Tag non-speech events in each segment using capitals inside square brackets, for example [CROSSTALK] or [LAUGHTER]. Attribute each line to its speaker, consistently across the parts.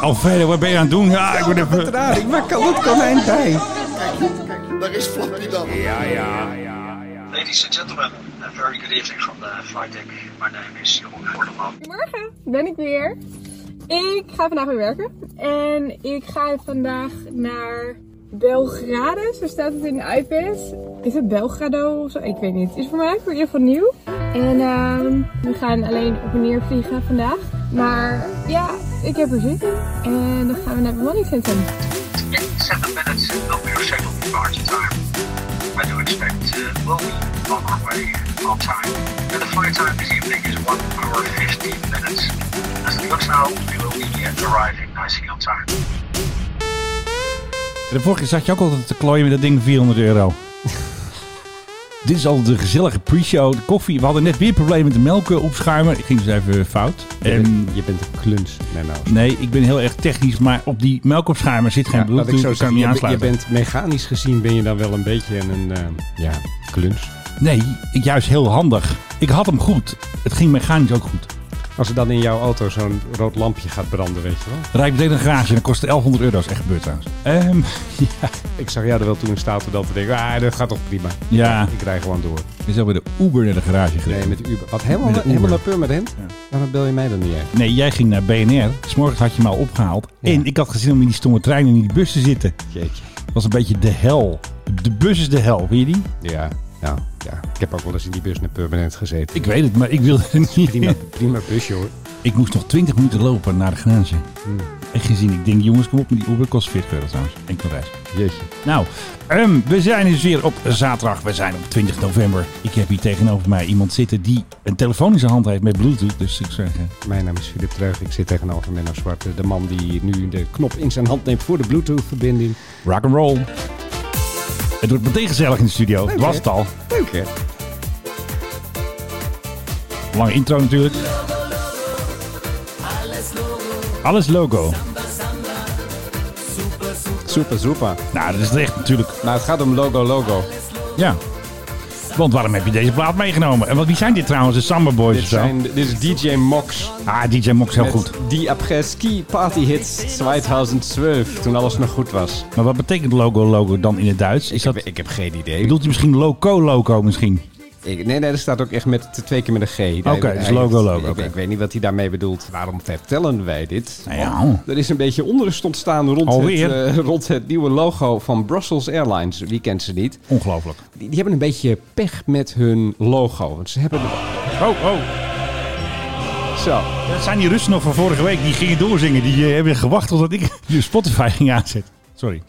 Speaker 1: Alfredo, Oh, wat ben je aan het doen? Ja, ik word even...
Speaker 2: Raar, ik maak al het konijn bij.
Speaker 3: Daar is Flappy dan.
Speaker 1: Ja, ja, ja.
Speaker 4: Ladies and gentlemen, a very good evening from the flight deck. My name is Jeroen Voordeman.
Speaker 5: Goedemorgen, ben ik weer. Ik ga vandaag weer werken. En ik ga vandaag naar Belgrade. Zo staat het in de iPad. Is het Belgrado of zo? Ik weet niet. Is voor mij voor in ieder geval nieuw. En ehm, we gaan alleen op en neer vliegen vandaag. Maar ja, ik heb er zin in. En dan gaan we naar het Money Center.
Speaker 4: In seven minutes, will be your scheduled departure time. I do expect uh, we'll be on our way on time. And the flight time this evening is 1 hour 15 minutes. As it looks now, we will be uh, arriving nicely on time.
Speaker 1: De vorige keer zat je ook altijd te klooien met dat ding 400 euro. [LAUGHS] Dit is al de gezellige pre-show. De koffie. We hadden net weer problemen met de melk opschuimen. Ik ging dus even fout.
Speaker 2: Je
Speaker 1: En
Speaker 2: bent, je bent een kluns, Menno.
Speaker 1: nee, ik ben heel erg technisch, maar op die melkopschuimer zit geen
Speaker 2: Ja, laat
Speaker 1: bluetooth. Ik, kan
Speaker 2: zeggen,
Speaker 1: hem niet
Speaker 2: je, bent- je
Speaker 1: aansluiten.
Speaker 2: bent mechanisch gezien ben je dan wel een beetje een, eh, ja, kluns.
Speaker 1: Nee, ik- juist heel handig. Ik had hem goed. Het ging mechanisch ook goed.
Speaker 2: Als er dan in jouw auto zo'n rood lampje gaat branden, weet je wel.
Speaker 1: Rijd meteen een garage en dat kostte 1100 euro. Dat is echt gebeurd trouwens. Ehm, [LAUGHS] ja.
Speaker 2: Ik zag jou er wel toe in staat om dan te denken, ah, dat gaat toch prima.
Speaker 1: Ja.
Speaker 2: Ik rij gewoon door.
Speaker 1: We zijn bij de Uber naar de garage gereden. Nee,
Speaker 2: Nee, met de Uber. Wat, helemaal,
Speaker 1: Met de Uber.
Speaker 2: helemaal naar Purmerend? Waarom bel je mij dan niet echt?
Speaker 1: jij ging naar BNR. S'morgens had je me al opgehaald.
Speaker 2: Ja.
Speaker 1: En ik had gezien om in die stomme trein en in die bus te zitten.
Speaker 2: Jeetje.
Speaker 1: Dat was een beetje de hel. De bus is de hel, weet je die?
Speaker 2: Ja, nou, ja. Ik heb ook wel eens in die bus naar Purmerend gezeten.
Speaker 1: Ik weet het, maar ik wilde er niet.
Speaker 2: Prima, prima busje hoor.
Speaker 1: Ik moest nog 20 minuten lopen naar de garage. Echt gezien. Ik denk, jongens, kom op met die Uber. Kost 40 euro trouwens. Enkel reis.
Speaker 2: Jeetje.
Speaker 1: Nou, ehm, we zijn dus weer op zaterdag. We zijn op 20 november. Ik heb hier tegenover mij iemand zitten die een telefoon in zijn hand heeft met Bluetooth. Dus ik zeg, eh,
Speaker 2: Mijn naam is Filip Treug. Ik zit tegenover Menno Zwarte. De man die nu de knop in zijn hand neemt voor de Bluetooth-verbinding.
Speaker 1: rock and roll. Het wordt meteen gezellig in de studio.
Speaker 2: Leuk,
Speaker 1: was
Speaker 2: hè?
Speaker 1: het al.
Speaker 2: Leuk hè?
Speaker 1: Lange intro natuurlijk. Alles logo.
Speaker 2: Super, super.
Speaker 1: Nou, dat is terecht natuurlijk.
Speaker 2: Nou, het gaat om logo, logo.
Speaker 1: Ja. Want waarom heb je deze plaat meegenomen? En wat, wie zijn dit trouwens? De Samba Boys
Speaker 2: Dit,
Speaker 1: of zo?
Speaker 2: zijn, dit is DJ Mox.
Speaker 1: Ah, DJ Mox heel
Speaker 2: met
Speaker 1: goed.
Speaker 2: Die après-ski party hits 2012, toen alles nog goed was.
Speaker 1: Maar wat betekent logo logo dan in het Duits? Is dat,
Speaker 2: ik heb geen idee.
Speaker 1: bedoelt hij misschien loco loco misschien?
Speaker 2: Ik- nee, nee, dat staat ook echt met twee keer met een G. Nee,
Speaker 1: Oké,
Speaker 2: hij-
Speaker 1: dus logo, logo,
Speaker 2: Ik,
Speaker 1: oké.
Speaker 2: ik weet niet wat hij daarmee bedoelt. Waarom vertellen wij dit?
Speaker 1: Nou ja.
Speaker 2: Er is een beetje onrust ontstaan rond het,
Speaker 1: Alweer?
Speaker 2: eh, rond het nieuwe logo van Brussels Airlines. Wie kent ze niet?
Speaker 1: Ongelooflijk.
Speaker 2: Die, die hebben een beetje pech met hun logo. Want ze hebben...
Speaker 1: Oh, oh.
Speaker 2: Zo.
Speaker 1: Dat zijn die Russen nog van vorige week. Die gingen doorzingen. Die eh, hebben gewacht totdat ik [LAUGHS] je Spotify ging aanzetten. Sorry.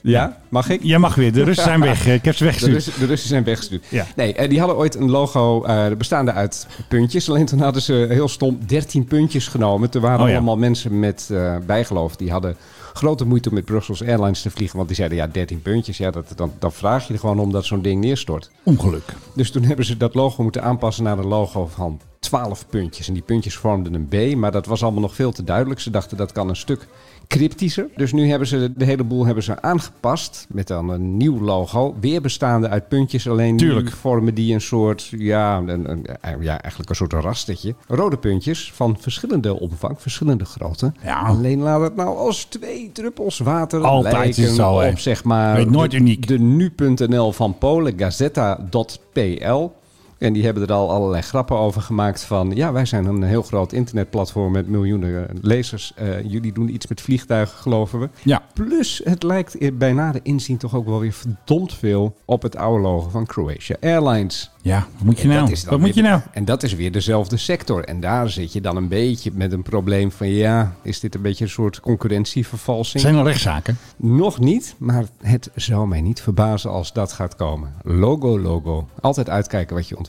Speaker 2: Ja, mag ik?
Speaker 1: Jij mag weer. De Russen zijn weg. Eh, Ik heb ze
Speaker 2: De
Speaker 1: weggestuurd.
Speaker 2: Russen, de Russen zijn weggestuurd.
Speaker 1: Ja.
Speaker 2: Nee, eh, die hadden ooit een logo eh, bestaande uit puntjes. Alleen toen hadden ze heel stom 13 puntjes genomen. Er waren
Speaker 1: Oh ja.
Speaker 2: allemaal mensen met eh, bijgeloof. Die hadden grote moeite om met Brussels Airlines te vliegen. Want die zeiden, ja, 13 puntjes. Ja, dat, dan, dan vraag je er gewoon om dat zo'n ding neerstort.
Speaker 1: Ongeluk.
Speaker 2: Dus toen hebben ze dat logo moeten aanpassen naar een logo van 12 puntjes. En die puntjes vormden een B, maar dat was allemaal nog veel te duidelijk. Ze dachten dat kan een stuk cryptischer. Dus nu hebben ze de hele boel hebben ze aangepast met dan een nieuw logo. Weer bestaande uit puntjes, alleen
Speaker 1: Tuurlijk.
Speaker 2: nu vormen die een soort, ja, een, een- ja, eigenlijk een soort rastertje. Rode puntjes van verschillende omvang, verschillende grootte.
Speaker 1: Ja.
Speaker 2: Alleen laat het nou als twee druppels water
Speaker 1: Altijd is
Speaker 2: lijken
Speaker 1: het zo, hè.
Speaker 2: op, zeg maar.
Speaker 1: Weet nooit
Speaker 2: de-
Speaker 1: uniek.
Speaker 2: de nu.nl van Polen, Gazeta.pl. En die hebben er al allerlei grappen over gemaakt van... ja, wij zijn een heel groot internetplatform met miljoenen eh, lezers. Eh, jullie doen iets met vliegtuigen, geloven we.
Speaker 1: Ja.
Speaker 2: Plus, het lijkt eh, bij nader inzien toch ook wel weer verdomd veel... op het oude logo van Croatia Airlines.
Speaker 1: Ja. Wat moet je
Speaker 2: En dat
Speaker 1: nou?
Speaker 2: is dan
Speaker 1: Wat moet je
Speaker 2: weer-
Speaker 1: nou?
Speaker 2: En dat is weer dezelfde sector. En daar zit je dan een beetje met een probleem van... ja, is dit een beetje een soort concurrentievervalsing?
Speaker 1: Zijn er rechtszaken?
Speaker 2: Nog niet, maar het zou mij niet verbazen als dat gaat komen. Logo, logo. Altijd uitkijken wat je ontwerpt.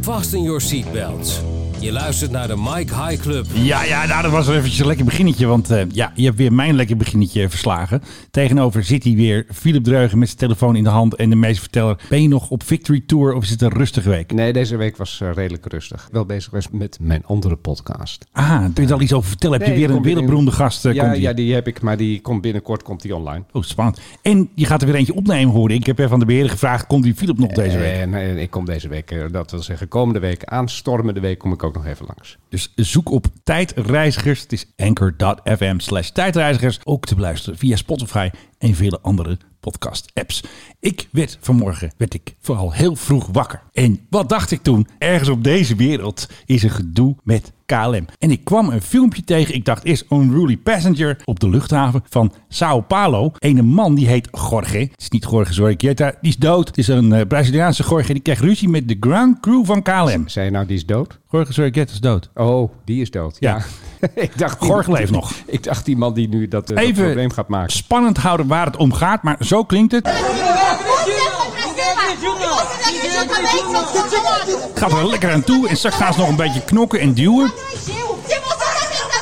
Speaker 6: Fasten your seatbelts. Je luistert naar de Mike High Club.
Speaker 1: Ja, ja, nou, dat was eventjes een lekker beginnetje. Want eh, ja, je hebt weer mijn lekker beginnetje verslagen. Tegenover zit hij weer, Philip Dreugen met zijn telefoon in de hand. En de meeste verteller, ben je nog op Victory Tour of is het een rustige week?
Speaker 2: Nee, deze week was eh, redelijk rustig. Wel bezig geweest met mijn andere podcast.
Speaker 1: Ah, kun je daar al iets over vertellen? Heb je
Speaker 2: Nee,
Speaker 1: weer een
Speaker 2: komt binnen-
Speaker 1: wereldberoemde gast? eh,
Speaker 2: ja,
Speaker 1: komt die?
Speaker 2: ja, die heb ik, maar die komt binnenkort komt die online.
Speaker 1: Oh, spannend. En je gaat er weer eentje opnemen, hoor. ik. Ik heb even aan de beheerder gevraagd, komt die Philip nog deze week?
Speaker 2: eh, En, eh, ik kom deze week, eh, dat wil zeggen komende week, aanstormende week kom ik ook nog even langs.
Speaker 1: Dus zoek op Tijdreizigers. Het is anchor.fm slash tijdreizigers. Ook te beluisteren via Spotify en vele andere podcast apps. Ik werd vanmorgen, werd ik vooral heel vroeg wakker. En wat dacht ik toen? Ergens op deze wereld is een gedoe met KLM. En ik kwam een filmpje tegen. Ik dacht eerst Unruly Passenger op de luchthaven van Sao Paulo. Een man die heet Jorge. Het is niet Jorge Zorriqueta. Die is dood. Het is een eh, Braziliaanse Jorge. Die kreeg ruzie met de ground crew van KLM.
Speaker 2: Zei je nou, die is dood?
Speaker 1: Jorge Zorriqueta is dood.
Speaker 2: Oh, die is dood. Ja. [LAUGHS] ik dacht, die-
Speaker 1: Gorg leeft nog.
Speaker 2: [LAUGHS] Ik dacht, die man die nu dat, eh, dat
Speaker 1: Even
Speaker 2: probleem gaat maken.
Speaker 1: spannend houden waar het om gaat, maar zo klinkt het. Het gaat er lekker aan toe en straks gaan ze nog een beetje knokken en duwen.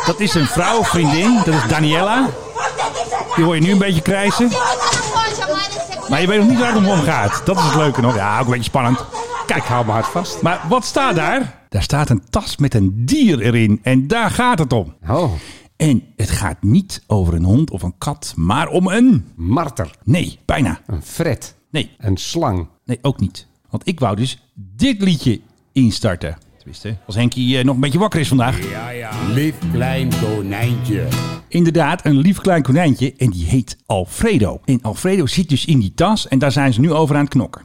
Speaker 1: Dat is een vrouw, vriendin, dat is Daniela. Die hoor je nu een beetje krijsen. Maar je weet nog niet waar het om gaat. Dat is het leuke nog. Ja, ook een beetje spannend. Kijk, hou me hard vast. Maar wat staat daar? Daar staat een tas met een dier erin en daar gaat het om.
Speaker 2: Oh,
Speaker 1: En het gaat niet over een hond of een kat, maar om een...
Speaker 2: marter.
Speaker 1: Nee, bijna.
Speaker 2: Een fret.
Speaker 1: Nee,
Speaker 2: Een slang.
Speaker 1: nee, ook niet. Want ik wou dus dit liedje instarten. Tenminste, als Henkie eh, nog een beetje wakker is vandaag.
Speaker 7: Lief klein konijntje.
Speaker 1: Inderdaad, een lief klein konijntje en die heet Alfredo. En Alfredo zit dus in die tas en daar zijn ze nu over aan het knokken.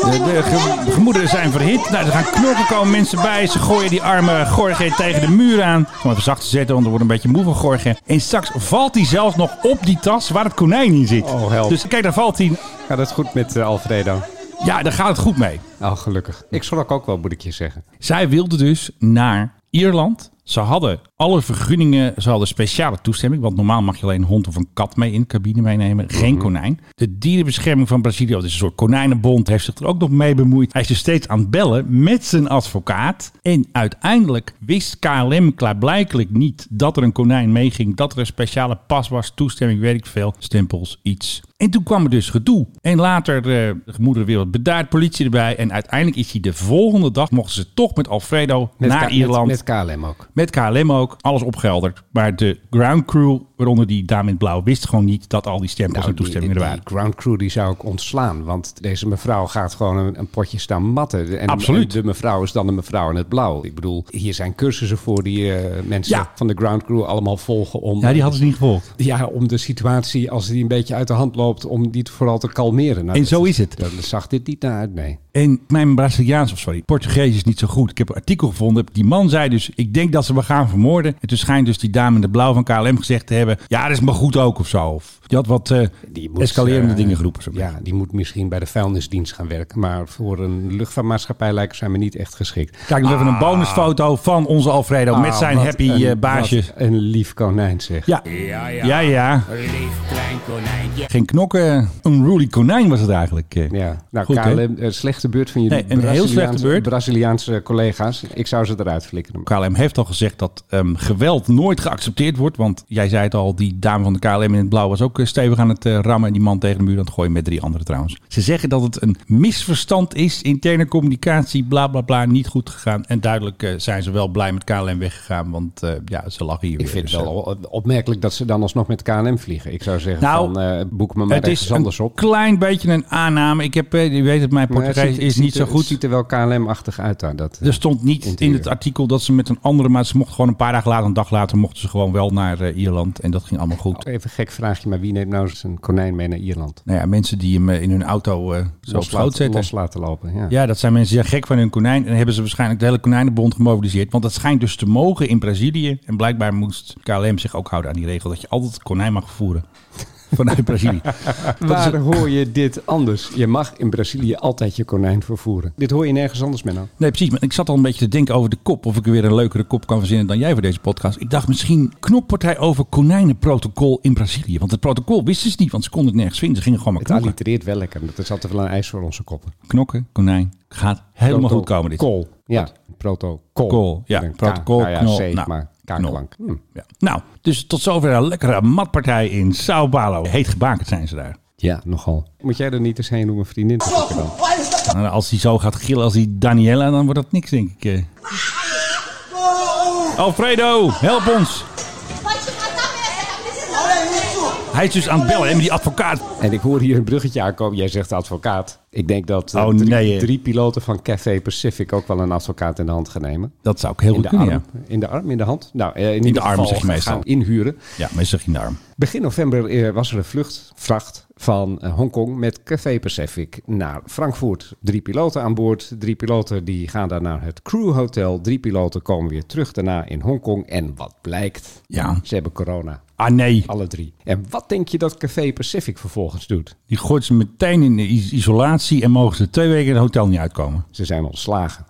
Speaker 1: De, de ge- gemoederen zijn verhit. Nou, er gaan knokken komen mensen bij. Ze gooien die arme Gorge tegen de muur aan. Om even zacht te zetten, want er wordt een beetje moe van Gorge. En straks valt hij zelfs nog op die tas waar het konijn in zit.
Speaker 2: Oh, help.
Speaker 1: Dus kijk, daar valt hij.
Speaker 2: Gaat het goed met eh, Alfredo?
Speaker 1: Ja, daar gaat het goed mee.
Speaker 2: Oh, gelukkig. Ik schrok ook wel, moet ik je zeggen.
Speaker 1: Zij wilden dus naar Ierland. Ze hadden alle vergunningen, ze hadden speciale toestemming. Want normaal mag je alleen een hond of een kat mee in de cabine meenemen. Geen konijn. De dierenbescherming van Brazilië, dat is een soort konijnenbond, heeft zich er ook nog mee bemoeid. Hij is dus steeds aan het bellen met zijn advocaat. En uiteindelijk wist KLM klaarblijkelijk niet dat er een konijn meeging. Dat er een speciale pas was, toestemming, weet ik veel, stempels, iets. En toen kwam er dus gedoe. En later, eh, de gemoederen weer wat bedaard, politie erbij. En uiteindelijk is hij de volgende dag, mochten ze toch met Alfredo
Speaker 2: Met
Speaker 1: naar
Speaker 2: K- met-
Speaker 1: Ierland.
Speaker 2: Met,
Speaker 1: Met,
Speaker 2: KLM ook.
Speaker 1: KLM ook, alles opgehelderd. Maar de ground crew, waaronder die dame in het blauw, wist gewoon niet dat al die stempels en toestemmingen
Speaker 2: Nou, die,
Speaker 1: er
Speaker 2: die
Speaker 1: waren.
Speaker 2: ground crew die zou ik ontslaan. Want deze mevrouw gaat gewoon een, een potje staan matten. En,
Speaker 1: Absoluut.
Speaker 2: en de mevrouw is dan de mevrouw in het blauw. Ik bedoel, hier zijn cursussen voor die eh, mensen
Speaker 1: Ja.
Speaker 2: van de ground crew allemaal volgen. Om,
Speaker 1: Ja, die hadden ze niet gevolgd.
Speaker 2: Ja, om de situatie, als die een beetje uit de hand loopt, om die vooral te kalmeren. Nou,
Speaker 1: En
Speaker 2: dat
Speaker 1: zo is het.
Speaker 2: Dat zag dit niet naar uit, nee.
Speaker 1: En mijn Braziliaans, of sorry, Portugees is niet zo goed. Ik heb een artikel gevonden. Die man zei dus, ik denk dat ze me gaan vermoorden. En toen schijnt dus die dame in de blauw van KLM gezegd te hebben... ja, dat is maar goed ook of zo. Of, die had wat eh,
Speaker 2: Die moet,
Speaker 1: escalerende
Speaker 2: eh,
Speaker 1: dingen geroepen. Zo
Speaker 2: Ja, die moet misschien bij de vuilnisdienst gaan werken. Maar voor een luchtvaartmaatschappij lijken zij me niet echt geschikt.
Speaker 1: Kijk nog even een bonusfoto van onze Alfredo met
Speaker 2: Ah,
Speaker 1: zijn
Speaker 2: wat
Speaker 1: happy
Speaker 2: een-
Speaker 1: eh, baasje.
Speaker 2: wat Een lief konijn zeg.
Speaker 1: Ja.
Speaker 7: Ja, ja.
Speaker 1: ja, ja.
Speaker 7: Lief klein konijntje.
Speaker 1: Geen knokken. Een roelie konijn was het eigenlijk. eh.
Speaker 2: Ja, nou
Speaker 1: Goed, hè?
Speaker 2: KLM, eh, slechte beurt van jullie
Speaker 1: Nee, een heel slechte
Speaker 2: Braziliaanse-
Speaker 1: beurt.
Speaker 2: Braziliaanse collega's. Ik zou ze eruit flikkeren.
Speaker 1: KLM heeft al gezegd dat ehm, geweld nooit geaccepteerd wordt. Want jij zei het al, die dame van de KLM in het blauw was ook eh, stevig aan het eh, rammen. En die man tegen de muur aan het gooien met drie anderen trouwens. Ze zeggen dat het een misverstand is. Interne communicatie, bla bla bla, niet goed gegaan. En duidelijk eh, zijn ze wel blij met KLM weggegaan. Want eh, ja, ze lachen hier
Speaker 2: Ik
Speaker 1: weer.
Speaker 2: vind
Speaker 1: Dus,
Speaker 2: het wel o- opmerkelijk dat ze dan alsnog met KLM vliegen. Ik zou zeggen
Speaker 1: Nou,
Speaker 2: van, eh, boek me
Speaker 1: eh,
Speaker 2: maar
Speaker 1: Het is
Speaker 2: ergens
Speaker 1: een
Speaker 2: anders op.
Speaker 1: klein beetje een aanname. Ik heb, eh, je weet het, mijn
Speaker 2: Maar het
Speaker 1: Portugees
Speaker 2: ziet-
Speaker 1: is
Speaker 2: het
Speaker 1: niet
Speaker 2: ziet
Speaker 1: zo
Speaker 2: er- Het
Speaker 1: goed. Dus-
Speaker 2: ziet er wel KLM-achtig uit daar. Dat,
Speaker 1: Er stond niet in
Speaker 2: Interieur.
Speaker 1: het artikel dat ze met een andere, maar ze mochten gewoon een paar dagen later, een dag later, mochten ze gewoon wel naar eh, Ierland. En dat ging allemaal goed.
Speaker 2: eh, Even een gek vraagje, maar wie neemt nou zijn konijn mee naar Ierland?
Speaker 1: Nou ja, mensen die hem eh, in hun auto eh, zo op
Speaker 2: Los
Speaker 1: sloot
Speaker 2: laten-
Speaker 1: zetten.
Speaker 2: los laten lopen, ja.
Speaker 1: Ja, dat zijn mensen die zijn gek van hun konijn. En dan hebben ze waarschijnlijk de hele konijnenbond gemobiliseerd. Want dat schijnt dus te mogen in Brazilië. En blijkbaar moest KLM zich ook houden aan die regel dat je altijd konijn mag voeren. [LAUGHS] Vanuit Brazilië. Dat is
Speaker 2: Waar hoor je dit anders? Je mag in Brazilië altijd je konijn vervoeren. Dit hoor je nergens anders meer nou.
Speaker 1: Nee, precies. Maar ik zat al een beetje te denken over de kop. Of ik er weer een leukere kop kan verzinnen dan jij voor deze podcast. Ik dacht misschien knokpartij over konijnenprotocol in Brazilië. Want het protocol wisten ze niet, want ze konden het nergens vinden. Ze gingen gewoon maar
Speaker 2: Het
Speaker 1: knokken.
Speaker 2: allitereert wel lekker. Dat is altijd wel een ijs voor onze koppen.
Speaker 1: Knokken, konijn. Gaat helemaal goed komen dit.
Speaker 2: Protocol. Ja, protocol.
Speaker 1: Kool, ja,
Speaker 2: Met een K.
Speaker 1: protocol,
Speaker 2: Nou ja,
Speaker 1: knol,
Speaker 2: C,
Speaker 1: nou,
Speaker 2: maar
Speaker 1: knol.
Speaker 2: K-klank. Hm.
Speaker 1: Ja. Nou, dus tot zover een lekkere matpartij in Sao Paulo. Heet gebakerd zijn ze daar.
Speaker 2: Ja, nogal. Moet jij er niet eens heen doen, mijn vriendin? te zoeken dan?
Speaker 1: En Nou, als hij zo gaat gillen als die Daniela, dan wordt dat niks, denk ik. eh. Alfredo, help ons! Hij is dus aan het bellen hè, met die advocaat.
Speaker 2: En ik hoor hier een bruggetje aankomen. Jij zegt advocaat. Ik denk dat eh,
Speaker 1: Oh,
Speaker 2: drie,
Speaker 1: nee, hè.
Speaker 2: drie piloten van Cathay Pacific ook wel een advocaat in de hand gaan nemen.
Speaker 1: Dat zou ik heel
Speaker 2: In
Speaker 1: goed
Speaker 2: de
Speaker 1: kunnen,
Speaker 2: arm.
Speaker 1: ja.
Speaker 2: In de arm, in de hand. Nou, eh, in, ieder
Speaker 1: de arm,
Speaker 2: geval
Speaker 1: zeg je meestal.
Speaker 2: Gaan inhuren.
Speaker 1: Ja, meestal in de arm.
Speaker 2: Begin november eh, was er een vlucht, vracht van eh, Hongkong met Cathay Pacific naar Frankfurt. Drie piloten aan boord. Drie piloten die gaan daar naar het crewhotel. Drie piloten komen weer terug daarna in Hongkong. En wat blijkt?
Speaker 1: Ja.
Speaker 2: Ze hebben corona.
Speaker 1: Ah nee,
Speaker 2: Alle drie. En wat denk je dat Cathay Pacific vervolgens doet?
Speaker 1: die gooit ze meteen in de is- isolatie en mogen ze twee weken in het hotel niet uitkomen.
Speaker 2: Ze zijn ontslagen.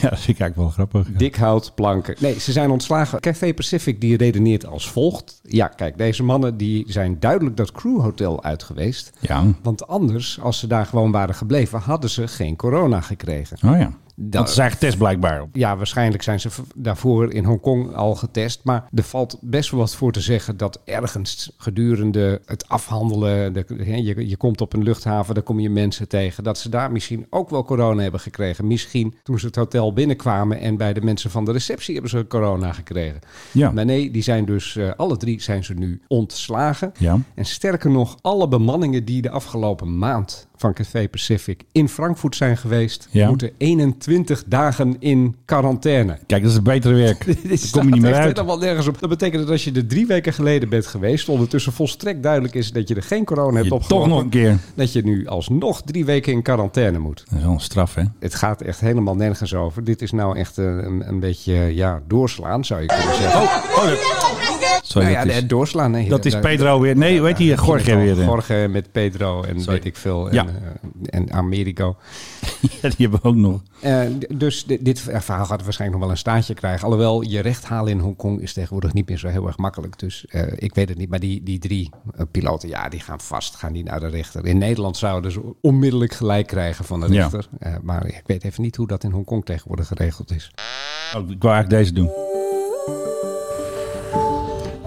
Speaker 1: Ja, dat vind ik eigenlijk wel grappig.
Speaker 2: Dik hout, planken. Nee, ze zijn ontslagen. Café Pacific die redeneert als volgt. Ja, kijk, deze mannen die zijn duidelijk dat crewhotel uit geweest.
Speaker 1: Ja. Oh,
Speaker 2: Want anders, als ze daar gewoon waren gebleven, hadden ze geen corona gekregen.
Speaker 1: Oh ja. Dat is eigenlijk test blijkbaar.
Speaker 2: Ja, waarschijnlijk zijn ze v- daarvoor in Hongkong al getest. Maar er valt best wel wat voor te zeggen dat ergens gedurende het afhandelen. de- hè, je, je komt op een luchthaven, daar kom je mensen tegen. Dat ze daar misschien ook wel corona hebben gekregen. Misschien toen ze het hotel binnenkwamen en bij de mensen van de receptie hebben ze corona gekregen.
Speaker 1: Ja.
Speaker 2: Maar nee, die zijn dus, eh, alle drie zijn ze nu ontslagen.
Speaker 1: Ja.
Speaker 2: En sterker nog, alle bemanningen die de afgelopen maand van Café Pacific in Frankfurt zijn geweest,
Speaker 1: Ja.
Speaker 2: moeten 21 dagen in [LAUGHS] quarantaine.
Speaker 1: Kijk, dat is het betere
Speaker 2: [LAUGHS]
Speaker 1: werk. Daar
Speaker 2: staat
Speaker 1: kom je niet meer
Speaker 2: echt
Speaker 1: uit.
Speaker 2: helemaal nergens op. Dat betekent dat als je er drie weken geleden bent geweest, ondertussen volstrekt duidelijk is dat je er geen corona hebt
Speaker 1: Je
Speaker 2: opgelopen.
Speaker 1: toch nog een keer.
Speaker 2: Dat je nu alsnog drie weken in quarantaine moet.
Speaker 1: Dat is wel een straf, hè?
Speaker 2: Het gaat echt helemaal nergens over. Dit is nou echt eh, een, een beetje ja, doorslaan, zou je kunnen zeggen. Oh,
Speaker 1: Sorry,
Speaker 2: nou ja,
Speaker 1: dat, is,
Speaker 2: nee, doorslaan. Nee,
Speaker 1: dat is
Speaker 2: daar-
Speaker 1: Pedro weer. Nee, weet je, Gorge
Speaker 2: Pedro,
Speaker 1: weer. hè?
Speaker 2: Jorge met Pedro en weet ik veel. En,
Speaker 1: Ja.
Speaker 2: eh, en Amerigo.
Speaker 1: Ja, [LAUGHS] die hebben we ook nog.
Speaker 2: Eh, d- dus di- dit verhaal gaat waarschijnlijk nog wel een staartje krijgen. Alhoewel, je recht halen in Hongkong is tegenwoordig niet meer zo heel erg makkelijk. Dus eh, ik weet het niet. Maar die, die drie eh, piloten, ja, die gaan vast. Gaan die naar de rechter. In Nederland zouden ze onmiddellijk gelijk krijgen van de
Speaker 1: Ja.
Speaker 2: rechter. Eh, maar ik weet even niet hoe dat in Hongkong tegenwoordig geregeld is.
Speaker 1: Oh, ik wou eigenlijk deze doen.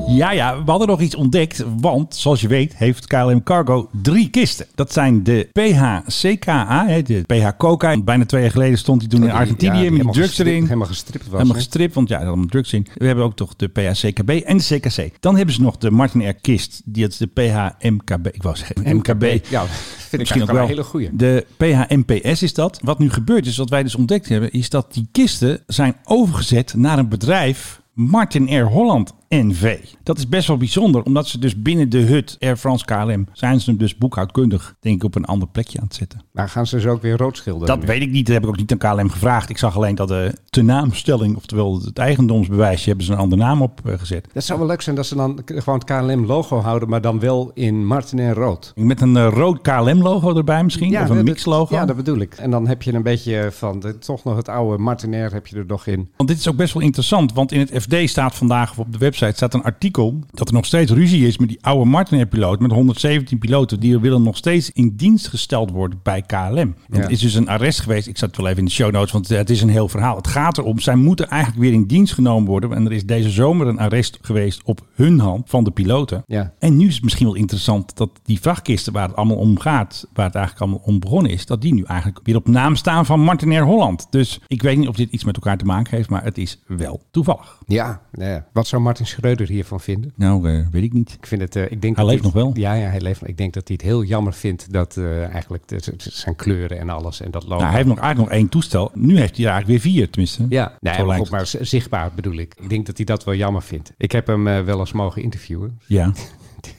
Speaker 1: Ja, ja, we hadden nog iets ontdekt. Want, zoals je weet, heeft KLM Cargo drie kisten. Dat zijn de PHCKA, hè, de PH Coca. Bijna twee jaar geleden stond hij toen in
Speaker 2: Ja,
Speaker 1: Argentinië
Speaker 2: die
Speaker 1: met die
Speaker 2: helemaal
Speaker 1: drugs
Speaker 2: gestript-
Speaker 1: erin.
Speaker 2: Helemaal gestript was.
Speaker 1: Helemaal
Speaker 2: hè?
Speaker 1: gestript, want ja, er allemaal drugs in. We hebben ook toch de PHCKB en de CKC. Dan hebben ze nog de Martin Air Kist. Die is de PHMKB. Ik wou zeggen MKB.
Speaker 2: Ja, [LAUGHS] vind ik eigenlijk wel een hele goeie.
Speaker 1: De PHMPS is dat. Wat nu gebeurd is, wat wij dus ontdekt hebben, is dat die kisten zijn overgezet naar een bedrijf. Martin Air Holland NV. Dat is best wel bijzonder, omdat ze dus binnen de hut Air France KLM zijn ze hem dus boekhoudkundig, denk ik, op een ander plekje aan het zetten.
Speaker 2: Maar gaan ze ze ook weer rood schilderen?
Speaker 1: Dat weet ik niet. Dat heb ik ook niet aan KLM gevraagd. Ik zag alleen dat de tenaamstelling, oftewel het eigendomsbewijsje, hebben ze een andere naam op eh, gezet.
Speaker 2: Dat zou wel leuk zijn dat ze dan k- gewoon het KLM-logo houden, maar dan wel in Martin en rood.
Speaker 1: Met een eh, rood KLM-logo erbij misschien, of een
Speaker 2: dat-
Speaker 1: mix-logo.
Speaker 2: Ja, dat bedoel ik. En dan heb je een beetje van de, toch nog het oude Martinair heb je er nog in.
Speaker 1: Want dit is ook best wel interessant, want in het FD staat vandaag, of op de website staat een artikel, dat er nog steeds ruzie is met die oude Martin Air piloot, met 117 piloten, die willen nog steeds in dienst gesteld worden bij KLM. En
Speaker 2: Ja.
Speaker 1: Er is dus een arrest geweest, ik zat het wel even in de show notes, want het is een heel verhaal. Het gaat erom, zij moeten eigenlijk weer in dienst genomen worden, en er is deze zomer een arrest geweest op hun hand van de piloten.
Speaker 2: Ja.
Speaker 1: En nu is het misschien wel interessant dat die vrachtkisten waar het allemaal om gaat, waar het eigenlijk allemaal om begonnen is, dat die nu eigenlijk weer op naam staan van Martin Air Holland. Dus ik weet niet of dit iets met elkaar te maken heeft, maar het is wel toevallig.
Speaker 2: Ja, nou ja. wat zou Martin Schreuder hiervan vinden?
Speaker 1: Nou, eh, weet ik niet.
Speaker 2: Ik vind het, eh, ik denk
Speaker 1: Hij
Speaker 2: dat
Speaker 1: leeft nog wel.
Speaker 2: Ja, ja, hij leeft. nog. Ik denk dat hij het heel jammer vindt dat eh, eigenlijk de- z- z- zijn kleuren en alles en dat logo.
Speaker 1: Nou, hij heeft nog eigenlijk nog één toestel. Nu heeft hij er eigenlijk weer vier, tenminste.
Speaker 2: Ja, nee,
Speaker 1: Zo
Speaker 2: maar,
Speaker 1: lijkt
Speaker 2: goed, maar z- zichtbaar bedoel ik. Ik denk dat hij dat wel jammer vindt. Ik heb hem eh, wel eens mogen interviewen.
Speaker 1: Ja.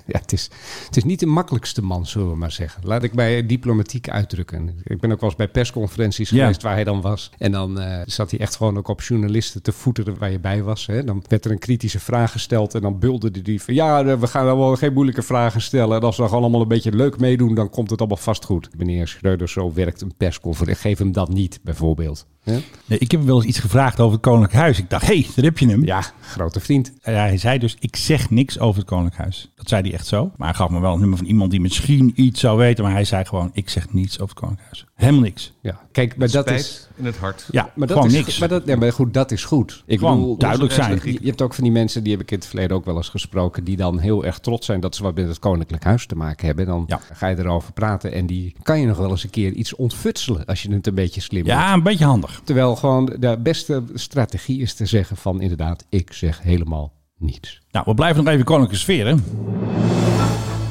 Speaker 2: Ja, het, is, het is niet de makkelijkste man, zullen we maar zeggen. Laat ik mij diplomatiek uitdrukken. Ik ben ook wel eens bij persconferenties
Speaker 1: Ja.
Speaker 2: geweest waar hij dan was. En dan eh, zat hij echt gewoon ook op journalisten te voeteren waar je bij was. Hè. Dan werd er een kritische vraag gesteld en dan bulderde hij van... ja, eh, we gaan allemaal geen moeilijke vragen stellen. En als we gewoon allemaal een beetje leuk meedoen, dan komt het allemaal vast goed. Meneer Schreuder, zo werkt een persconferentie. Geef hem dat niet, bijvoorbeeld. Hè?
Speaker 1: Nee, ik heb hem wel eens iets gevraagd over het Koninklijk Huis. Ik dacht, hé, hey, daar heb je hem.
Speaker 2: Ja, grote vriend.
Speaker 1: Ja, hij zei dus, ik zeg niks over het Koninklijk Huis. Dat zei hij echt zo. Maar hij gaf me wel het nummer van iemand die misschien iets zou weten. Maar hij zei gewoon, ik zeg niets over het Koninklijk Huis. Helemaal niks.
Speaker 2: Ja, kijk, maar dat is...
Speaker 8: in het hart.
Speaker 1: Ja,
Speaker 2: Maar dat
Speaker 1: gewoon
Speaker 2: is,
Speaker 1: niks.
Speaker 2: Maar, dat, ja, maar goed, dat is goed. Ik
Speaker 1: Gewoon duidelijk zijn.
Speaker 2: Je, je hebt ook van die mensen, die heb ik in het verleden ook wel eens gesproken, die dan heel erg trots zijn dat ze wat met het Koninklijk Huis te maken hebben. Dan
Speaker 1: Ja.
Speaker 2: ga je erover praten en die kan je nog wel eens een keer iets ontfutselen als je het een beetje slim doet.
Speaker 1: ja, een beetje handig.
Speaker 2: Terwijl gewoon de beste strategie is te zeggen van inderdaad, ik zeg helemaal niets.
Speaker 1: Nou, we blijven nog even koninklijke sfeer, hè?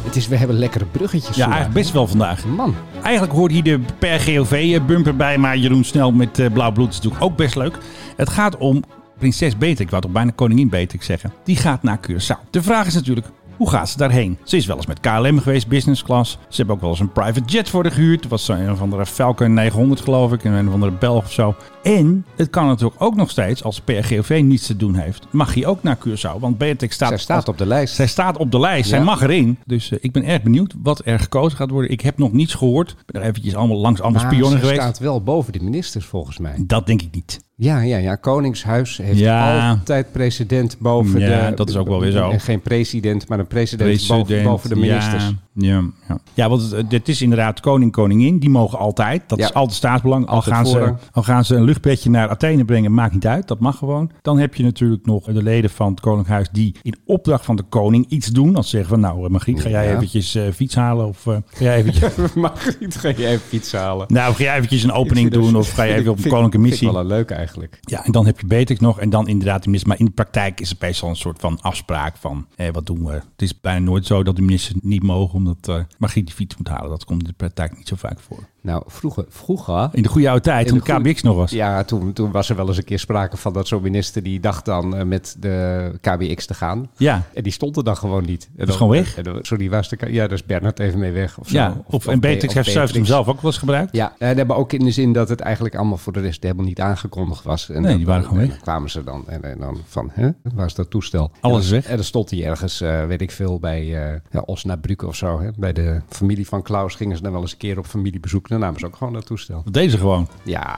Speaker 2: Het is, we hebben lekkere bruggetjes
Speaker 1: Ja,
Speaker 2: vandaag.
Speaker 1: eigenlijk best wel vandaag.
Speaker 2: Man,
Speaker 1: Eigenlijk hoort hier de per GOV-bumper eh, bij, maar Jeroen Snel met eh, Blauw Bloed is natuurlijk ook best leuk. Het gaat om prinses Beatrix, ik wou toch bijna koningin Beatrix zeggen. Die gaat naar Curaçao. De vraag is natuurlijk, hoe gaat ze daarheen? Ze is wel eens met KLM geweest, business class. Ze hebben ook wel eens een private jet voor haar gehuurd. Dat was zo een of andere Falcon 900 geloof ik, en een of andere Belg of zo. En het kan natuurlijk ook nog steeds, als per GOV niets te doen heeft, mag hij ook naar Curaçao. Want Beatrix staat,
Speaker 2: zij staat op de lijst.
Speaker 1: zij staat op de lijst. Zij
Speaker 2: Ja.
Speaker 1: mag erin. Dus eh, ik ben erg benieuwd wat er gekozen gaat worden. Ik heb nog niets gehoord. Ik ben er eventjes allemaal langs allemaal
Speaker 2: Maar
Speaker 1: spionnen
Speaker 2: ze
Speaker 1: geweest.
Speaker 2: Ah, staat wel boven de ministers volgens mij.
Speaker 1: Dat denk ik niet.
Speaker 2: Ja, ja, ja. Koningshuis heeft
Speaker 1: Ja.
Speaker 2: altijd president boven de...
Speaker 1: Ja, dat is ook wel weer zo.
Speaker 2: En geen president, maar een president, boven,
Speaker 1: President,
Speaker 2: boven de ministers. [LAUGHS]
Speaker 1: Ja, ja, ja. ja want het, het is inderdaad koning, koningin. Die mogen altijd. Dat
Speaker 2: Ja.
Speaker 1: is altijd staatsbelang. Al
Speaker 2: Altijd
Speaker 1: gaan, ze,
Speaker 2: voorrang.
Speaker 1: al gaan ze een luchtbedje naar Athene brengen, maakt niet uit. Dat mag gewoon. Dan heb je natuurlijk nog de leden van het koninkhuis die in opdracht van de koning iets doen. Als ze zeggen van nou, eh, Margriet, ga jij
Speaker 2: Ja.
Speaker 1: eventjes eh, fiets halen? Of eh, ga jij eventjes... [LAUGHS]
Speaker 2: Margriet, ga jij even fiets halen?
Speaker 1: Nou, of ga jij eventjes een opening
Speaker 2: Ik vind
Speaker 1: doen
Speaker 2: dat-
Speaker 1: of ga je
Speaker 2: vind
Speaker 1: even
Speaker 2: ik-
Speaker 1: op een
Speaker 2: vind-
Speaker 1: koninklijke
Speaker 2: Vind
Speaker 1: missie?
Speaker 2: ik wel leuk eigenlijk.
Speaker 1: Ja, en dan heb je Beatrix nog en dan inderdaad de minister. Maar in de praktijk is het meestal een soort van afspraak van eh, wat doen we. Het is bijna nooit zo dat de minister niet mogen omdat eh Margriet die fiets moet halen. Dat komt in de praktijk niet zo vaak voor.
Speaker 2: Nou, vroeger... vroeger
Speaker 1: In de goede oude tijd,
Speaker 2: In
Speaker 1: toen
Speaker 2: de
Speaker 1: de KBX nog was.
Speaker 2: Ja, toen, toen was er wel eens een keer sprake van dat zo'n minister die dacht dan eh, met de KBX te gaan.
Speaker 1: Ja.
Speaker 2: En die stond er dan gewoon niet. En dan,
Speaker 1: is gewoon weg.
Speaker 2: en dan- sorry, waar is de, K- ja, daar is Bernard even mee weg. Of, zo.
Speaker 1: Ja, of, en Beatrix
Speaker 2: of
Speaker 1: heeft zelfs hem
Speaker 2: Beatrix.
Speaker 1: zelf ook wel eens gebruikt.
Speaker 2: Ja, en hebben ook in de zin dat het eigenlijk allemaal voor de rest helemaal niet aangekondigd was. En
Speaker 1: Nee,
Speaker 2: dan-
Speaker 1: die waren gewoon
Speaker 2: en
Speaker 1: weg.
Speaker 2: dan kwamen ze dan en, en dan van, hè, waar is dat toestel?
Speaker 1: Alles
Speaker 2: en, dan-
Speaker 1: weg.
Speaker 2: En dan stond hij ergens, eh, weet ik veel, bij eh, ja, Osnabrück of zo. Hè? Bij de familie van Klaus gingen ze dan wel eens een keer op familiebezoek. Dan namen ze ook gewoon dat toestel.
Speaker 1: Dat deden ze gewoon.
Speaker 2: Ja,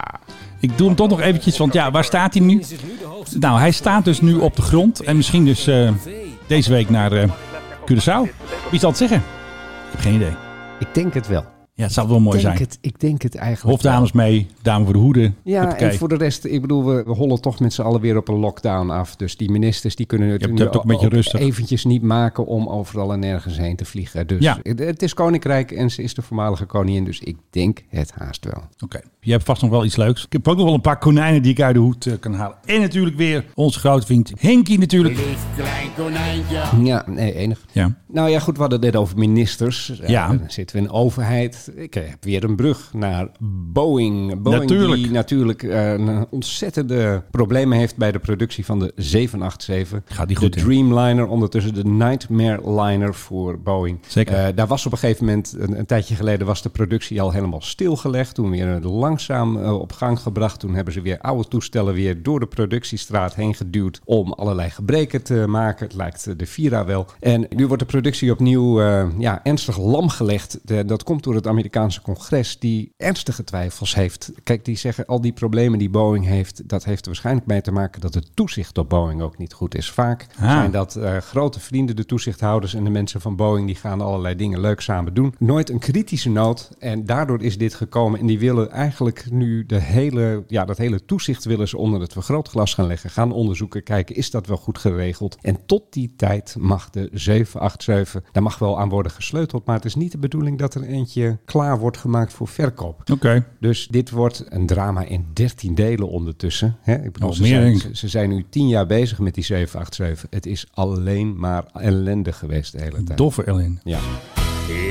Speaker 1: Ik doe hem toch nog eventjes, want ja, waar staat hij nu? Nou, hij staat dus nu op de grond. En misschien dus eh, deze week naar eh, Curaçao. Wie zal het zeggen? Ik heb geen idee.
Speaker 2: ik denk het wel.
Speaker 1: Ja, het zou wel mooi
Speaker 2: Ik denk
Speaker 1: zijn.
Speaker 2: het, ik denk het eigenlijk
Speaker 1: Hofdames mee, dame voor de hoeden.
Speaker 2: wel. Ja,
Speaker 1: Hoppakee.
Speaker 2: en voor de rest, ik bedoel, we, we hollen toch met z'n allen weer op een lockdown af. Dus die ministers, die kunnen het
Speaker 1: hebt-
Speaker 2: nu
Speaker 1: je hebt ook een beetje rustig.
Speaker 2: eventjes niet maken om overal en nergens heen te vliegen. Dus
Speaker 1: Ja.
Speaker 2: het, het is koninkrijk en ze is de voormalige koningin, dus ik denk het haast wel.
Speaker 1: Oké, je hebt vast nog wel iets leuks. Ik heb ook nog wel een paar konijnen die ik uit de hoed eh, kan halen. En natuurlijk weer onze grote vriend Henkie natuurlijk.
Speaker 7: Lief klein konijntje.
Speaker 2: Ja, nee, enig.
Speaker 1: Ja,
Speaker 2: Nou ja, goed, we hadden het net over ministers.
Speaker 1: Ja.
Speaker 2: Dan zitten we in de overheid. Ik eh, heb weer een brug naar Boeing. Boeing
Speaker 1: Natuurlijk.
Speaker 2: die natuurlijk eh, een ontzettende problemen heeft bij de productie van de 787.
Speaker 1: Gaat die goed,
Speaker 2: De
Speaker 1: hè?
Speaker 2: Dreamliner, ondertussen de Nightmare Liner voor Boeing.
Speaker 1: Zeker.
Speaker 2: Eh, daar was op een gegeven moment, een, een tijdje geleden, was de productie al helemaal stilgelegd. Toen weer eh, langzaam eh, op gang gebracht. Toen hebben ze weer oude toestellen weer door de productiestraat heen geduwd om allerlei gebreken te maken. Het lijkt eh, de Vira wel. En nu wordt de productie opnieuw eh, ja, ernstig lam gelegd. De- dat komt door het Amerikaanse congres die ernstige twijfels heeft. Kijk, die zeggen al die problemen die Boeing heeft, dat heeft er waarschijnlijk mee te maken dat het toezicht op Boeing ook niet goed is. Vaak
Speaker 1: Ah.
Speaker 2: zijn dat dat eh, grote vrienden, de toezichthouders en de mensen van Boeing, die gaan allerlei dingen leuk samen doen. Nooit een kritische noot. En daardoor is dit gekomen. En die willen eigenlijk nu de hele, ja, dat hele toezicht willen ze onder het vergrootglas gaan leggen. Gaan onderzoeken, kijken, is dat wel goed geregeld? En tot die tijd mag de 787, daar mag wel aan worden gesleuteld. Maar het is niet de bedoeling dat er eentje klaar wordt gemaakt voor verkoop.
Speaker 1: oké.
Speaker 2: Dus dit wordt een drama in 13 delen ondertussen. Hè? Ik bedoel,
Speaker 1: Nog
Speaker 2: ze,
Speaker 1: meer,
Speaker 2: zijn,
Speaker 1: denk
Speaker 2: ze, ze zijn nu 10 jaar bezig met die 787. Het is alleen maar ellende geweest de hele tijd.
Speaker 1: Doffe Ellen.
Speaker 2: Ja.